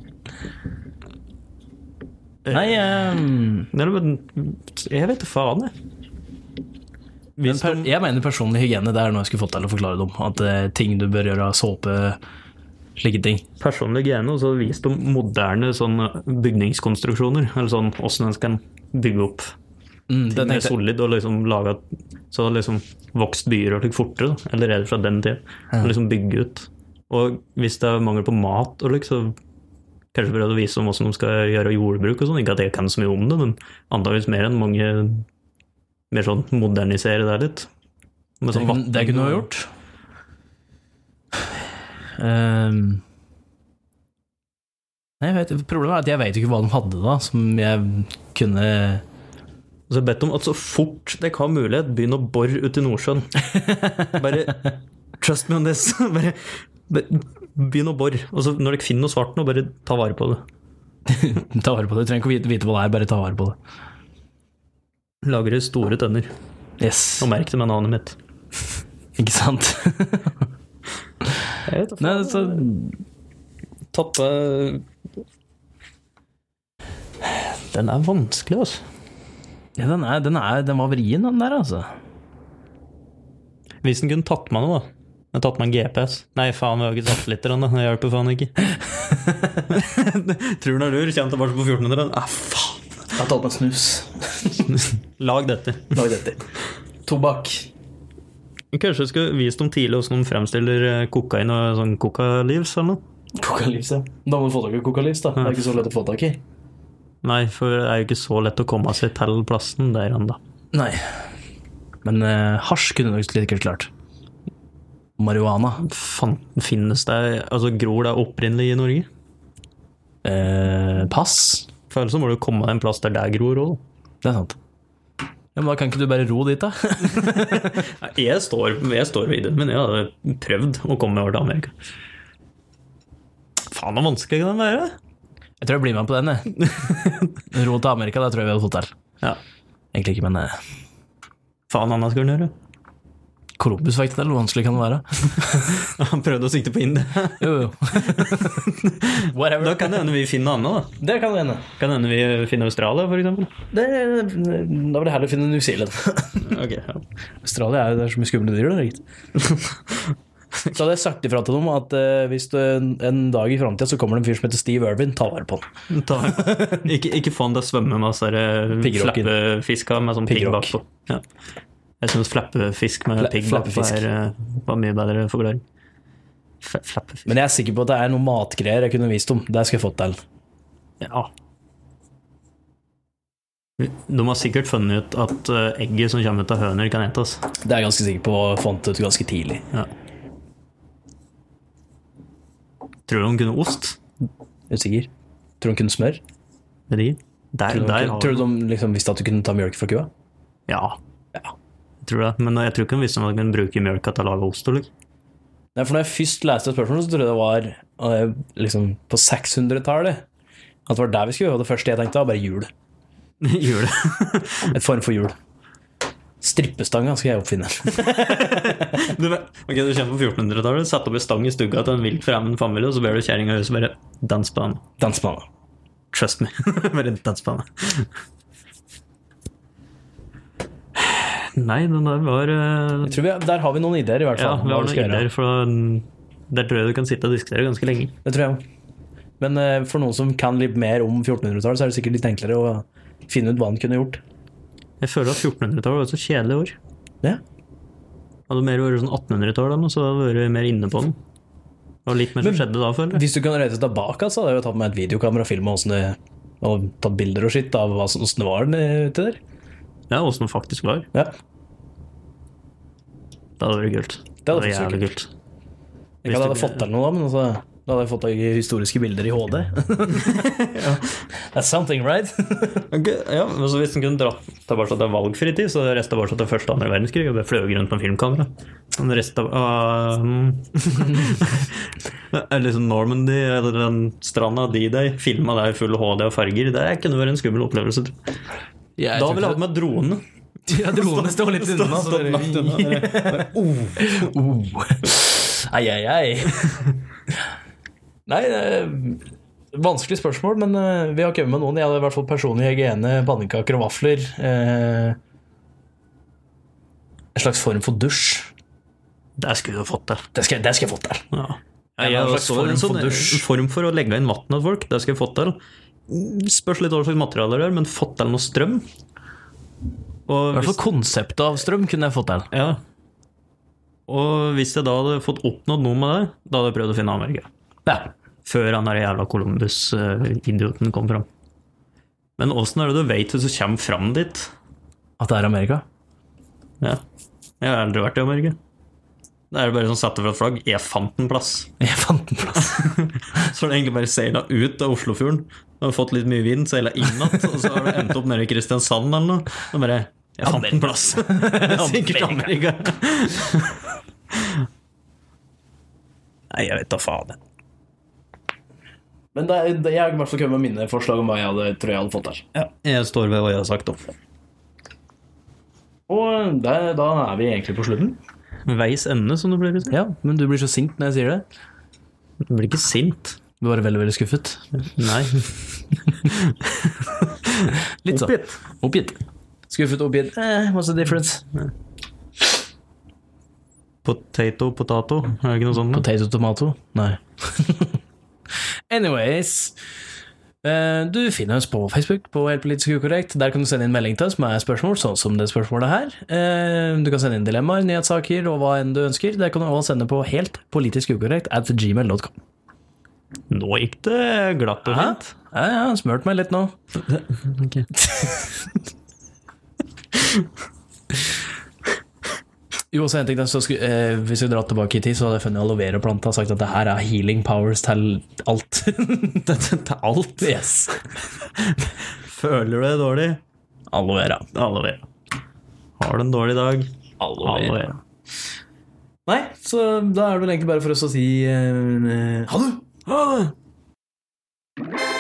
[SPEAKER 3] Nei, ehm,
[SPEAKER 1] Nei, men Jeg vet da faen, jeg.
[SPEAKER 3] men
[SPEAKER 1] Hvis
[SPEAKER 3] per,
[SPEAKER 1] de-
[SPEAKER 3] jeg mener personlig hygiene. Det er noe jeg skulle fått til å forklare dem. At eh, ting du bør gjøre, såpe, slike ting.
[SPEAKER 1] personlig hygiene, og så vist om moderne sånn bygningskonstruksjoner. Eller sånn åssen en skal bygge opp
[SPEAKER 3] Mm, det
[SPEAKER 1] mer
[SPEAKER 3] tenkte jeg.
[SPEAKER 1] solid og liksom lage Så det liksom vokst byer og slik fortere, da. eller er det fra den tida. Og liksom bygge ut. Og hvis det er mangel på mat og slik, så kanskje prøve å vise om hvordan de skal gjøre jordbruk og sånn. Ikke at jeg kan så mye om det, men antakeligvis mer enn mange Mer sånn modernisere det litt. Med sånn
[SPEAKER 3] Mm, Det- Det kunne du ha gjort. Ehm. Nei, jeg vet, problemet er at jeg vet ikke hva de hadde da, som jeg kunne
[SPEAKER 1] Og så har jeg bedt om at så fort dere har mulighet, begynn å bore ute i Nordsjøen. Bare trust me on this. Bare be- begynn å bore. Og så når dere finner noe svart nå, bare ta vare på det.
[SPEAKER 3] ta vare på. det. Du trenger ikke vite, vite hva det er, bare ta vare på det.
[SPEAKER 1] Lagre store tønner.
[SPEAKER 3] Yes,
[SPEAKER 1] Og merk det med navnet mitt.
[SPEAKER 3] ikke sant?
[SPEAKER 1] Jeg vet da
[SPEAKER 3] Nei,
[SPEAKER 1] faen.
[SPEAKER 3] så,
[SPEAKER 1] Tappe Den er vanskelig, altså.
[SPEAKER 3] ja, den, er, den, er, den var vrien, den der, altså.
[SPEAKER 1] Hvis den kunne tatt meg noe, da. Den har tatt meg en GPS. Nei, faen, vi har ikke satellitter ennå. Det hjelper faen ikke. Tror den er lur. Kommer tilbake på 1400. Ah, faen.
[SPEAKER 3] Jeg har tatt meg snus.
[SPEAKER 1] Lag dette.
[SPEAKER 3] Lag dette. Tobakk.
[SPEAKER 1] Kanskje jeg skulle vist dem tidlig hvordan de fremstiller eh, kokain og sånn kokalivs eller noe?
[SPEAKER 3] Kokalypse. Da må du få tak i kokalypse, da. Det er ikke så lett å få tak i.
[SPEAKER 1] Nei, for det er jo ikke så lett å komme seg til plassen der ennå.
[SPEAKER 3] Nei. Men eh, hasj kunne du nok sikkert klart. Marihuana.
[SPEAKER 1] Fan, finnes det Altså, gror det opprinnelig i Norge?
[SPEAKER 3] Eh, pass.
[SPEAKER 1] For ellers så må du komme deg en plass der det gror òg.
[SPEAKER 3] Det er sant. Ja, men da kan ikke du bare ro dit, da?
[SPEAKER 1] Jeg står, jeg står ved det, men jeg hadde prøvd å komme meg over til Amerika. Faen, så vanskelig kan den være.
[SPEAKER 3] Jeg tror jeg blir med på den, jeg. Ro til Amerika, det tror jeg vi hadde fått til.
[SPEAKER 1] Ja.
[SPEAKER 3] Egentlig ikke, men eh,
[SPEAKER 1] Faen, annet skulle han gjøre.
[SPEAKER 3] Columbus fikk det til. Hvor vanskelig kan det være?
[SPEAKER 1] Han prøvde å sikte på India.
[SPEAKER 3] Jo, jo. Whatever.
[SPEAKER 1] Da kan det hende vi finner noe annet.
[SPEAKER 3] Det kan hende.
[SPEAKER 1] da. Kan det hende vi finner Australia, f.eks.
[SPEAKER 3] Det, da vil jeg heller finne New Zealand.
[SPEAKER 1] Okay, ja.
[SPEAKER 3] Australia er jo der så mye skumle dyr, da. gitt. Så hadde jeg sagt ifra til dem at eh, hvis du, en, en dag i framtida så kommer det en fyr som heter Steve Irvin, ta vare på han.
[SPEAKER 1] Ta, ikke, ikke få han til å svømme med sånne
[SPEAKER 3] Piggrocken.
[SPEAKER 1] flappefisker med sånn pigg
[SPEAKER 3] Piggrock.
[SPEAKER 1] bakpå. Ja. Jeg syns flappefisk med
[SPEAKER 3] Fla-
[SPEAKER 1] pigg bakpå
[SPEAKER 3] flappefisk.
[SPEAKER 1] er, eh, var mye bedre forklaring. F flappefisk
[SPEAKER 3] Men jeg er sikker på at det er noen matgreier jeg kunne vist dem. Det skal jeg fått til.
[SPEAKER 1] Ja. De har sikkert funnet ut at eh, egget som kommer ut av høner, kan etes.
[SPEAKER 3] Det er jeg ganske sikker på og fant ut ganske tidlig.
[SPEAKER 1] Ja. Tror du de kunne ost?
[SPEAKER 3] Usikker. Tror du de kunne smør?
[SPEAKER 1] Med de? Der,
[SPEAKER 3] Tror du
[SPEAKER 1] der
[SPEAKER 3] de,
[SPEAKER 1] har
[SPEAKER 3] tror
[SPEAKER 1] de
[SPEAKER 3] du de liksom visste at du kunne ta mjølk fra kua?
[SPEAKER 1] Ja,
[SPEAKER 3] Ja.
[SPEAKER 1] jeg tror det. Men jeg tror ikke de visste om de kunne bruke mjølka til å lage ost. Eller?
[SPEAKER 3] Nei, for når jeg først leste spørsmålet, så trodde jeg det var eh, liksom på 600-tallet. At det var der vi skulle. Og det første jeg tenkte, var bare jul.
[SPEAKER 1] Gjør det.
[SPEAKER 3] Et form for jul. Strippestanga skal jeg oppfinne.
[SPEAKER 1] Du, vet- ok, du kommer på 1400-tallet, setter opp en stang i stugga til en vilt fremmed familie, og så ber du kjerringa i huset bare dans på den.
[SPEAKER 3] Dans med meg.
[SPEAKER 1] Trust me. bare dans på den. Nei, den der var eh,
[SPEAKER 3] Jeg tror vi, der har vi noen ideer, i hvert
[SPEAKER 1] Ja,
[SPEAKER 3] fall. om
[SPEAKER 1] vi
[SPEAKER 3] hva
[SPEAKER 1] har noen
[SPEAKER 3] skal gjøre.
[SPEAKER 1] ideer, for da- der tror jeg du kan sitte og diskutere ganske lenge.
[SPEAKER 3] Det tror jeg òg. Men eh, for noen som kan litt mer om 1400-tallet, så er det sikkert litt enklere å finne ut hva han kunne gjort.
[SPEAKER 1] Jeg føler at 1400-tallet var et så kjedelig år.
[SPEAKER 3] Ja.
[SPEAKER 1] Hadde mer vært sånn 1800-tall, eller noe, så hadde jeg vært mer inne på den. Det var litt mer som skjedde da, føler jeg.
[SPEAKER 3] Hvis du kan reise tilbake, så hadde jeg jo tatt med et videokamera og filma åssen det og tatt bilder og skitt av åssen det var eh, ute der.
[SPEAKER 1] Ja, åssen den faktisk var.
[SPEAKER 3] Ja.
[SPEAKER 1] Det hadde vært kult. vært
[SPEAKER 3] Det hadde faktisk vært
[SPEAKER 1] jævlig kult.
[SPEAKER 3] Ikke at jeg hadde fått til noe da, men altså, da hadde jeg fått til historiske bilder i HD. That's something, right?
[SPEAKER 1] Ok, ja, men så Hvis den kunne dratt tilbake til valgfri tid, så resta bare til første og andre verdenskrig og ble fløyet rundt med filmkamera. Den resten av ah, mm. uh, liksom Normandy eller den stranda D-Day, filma der i full HD og farger, det kunne vært en skummel opplevelse. tror jeg. da ville jeg hatt med drone.
[SPEAKER 3] Ja, dronene står litt unna. så
[SPEAKER 1] Stått
[SPEAKER 3] dere-
[SPEAKER 1] langt unna. bare-
[SPEAKER 3] Oh. Ai, ai, ai. Nei, det er vanskelig spørsmål, men eh, vi har kommet med noen. Jeg hadde i hvert fall personlig hygiene, pannekaker og vafler. Eh, en slags form for dusj.
[SPEAKER 1] Det skulle du fått til.
[SPEAKER 3] Det skal, det skal jeg få til.
[SPEAKER 1] Ja.
[SPEAKER 3] Ja,
[SPEAKER 1] jeg
[SPEAKER 3] en
[SPEAKER 1] har
[SPEAKER 3] slags
[SPEAKER 1] også en
[SPEAKER 3] form for
[SPEAKER 1] sånn
[SPEAKER 3] dusj.
[SPEAKER 1] form for å legge inn vann til folk. Det skal jeg fått til. Spørs litt hva slags materialer det er, men fått til noe strøm. Og
[SPEAKER 3] I hvert
[SPEAKER 1] hvis-
[SPEAKER 3] fall konseptet av strøm kunne jeg fått til.
[SPEAKER 1] Ja. Og hvis jeg da hadde fått oppnådd noe med det, da hadde jeg prøvd å finne Amerika.
[SPEAKER 3] Ja.
[SPEAKER 1] Før han der jævla Columbus-idioten kom fram. Men åssen er det du veit hvis du kommer fram dit?
[SPEAKER 3] At det er Amerika.
[SPEAKER 1] Ja. Jeg har aldri vært i Amerika. Det er bare sånn sette fra et flagg. Jeg fant en plass.
[SPEAKER 3] Jeg fant en plass.
[SPEAKER 1] Så har det egentlig bare seila ut av Oslofjorden. Og har fått litt mye vind, seila inn igjen, og så har det endt opp nede i Kristiansand eller noe. Og bare Jeg fant en plass. Det er Sikkert Amerika. Nei, jeg vet da faen. jeg.
[SPEAKER 3] Men det, er- det, jeg har i hvert fall kommet med mine forslag om hva jeg hadde, tror jeg hadde fått til.
[SPEAKER 1] Ja, jeg står ved hva jeg har sagt om.
[SPEAKER 3] Og det, da er vi egentlig på slutten.
[SPEAKER 1] Veis ende, som det blir. liksom.
[SPEAKER 3] Ja, men du blir så sint når jeg sier det.
[SPEAKER 1] Du blir ikke sint.
[SPEAKER 3] Du er bare veldig, veldig skuffet.
[SPEAKER 1] Nei.
[SPEAKER 3] Litt sånn.
[SPEAKER 1] Oppgitt.
[SPEAKER 3] Oppgitt. Skuffet og oppgitt. Eh, what's the difference?
[SPEAKER 1] Potato, potato. Er det ikke noe sånt?
[SPEAKER 3] Potato tomato? Nei. Anyways. eh, Du finner oss på Facebook på Helt politisk ukorrekt. Der kan du sende inn melding til oss med spørsmål, sånn som det spørsmålet her. Eh, Du kan sende inn dilemmaer, nyhetssaker og hva enn du ønsker. Det kan du også sende på helt politisk ukorrekt at gmail.com.
[SPEAKER 1] Nå gikk det glatt og fint.
[SPEAKER 3] Ja, ja, smørt meg litt nå. Jo, så en ting, så skulle, eh, Hvis vi drar tilbake i tid, så hadde jeg funnet aloe vera-planta og sagt at det her er healing powers til alt.
[SPEAKER 1] Dette til alt.
[SPEAKER 3] yes.
[SPEAKER 1] Føler du det dårlig?
[SPEAKER 3] Aloe vera.
[SPEAKER 1] Alle vet. Har du en dårlig dag?
[SPEAKER 3] Aloe
[SPEAKER 1] Alle vet.
[SPEAKER 3] Nei, så da er det vel egentlig bare for oss å si eh, ha det!
[SPEAKER 1] Ha det!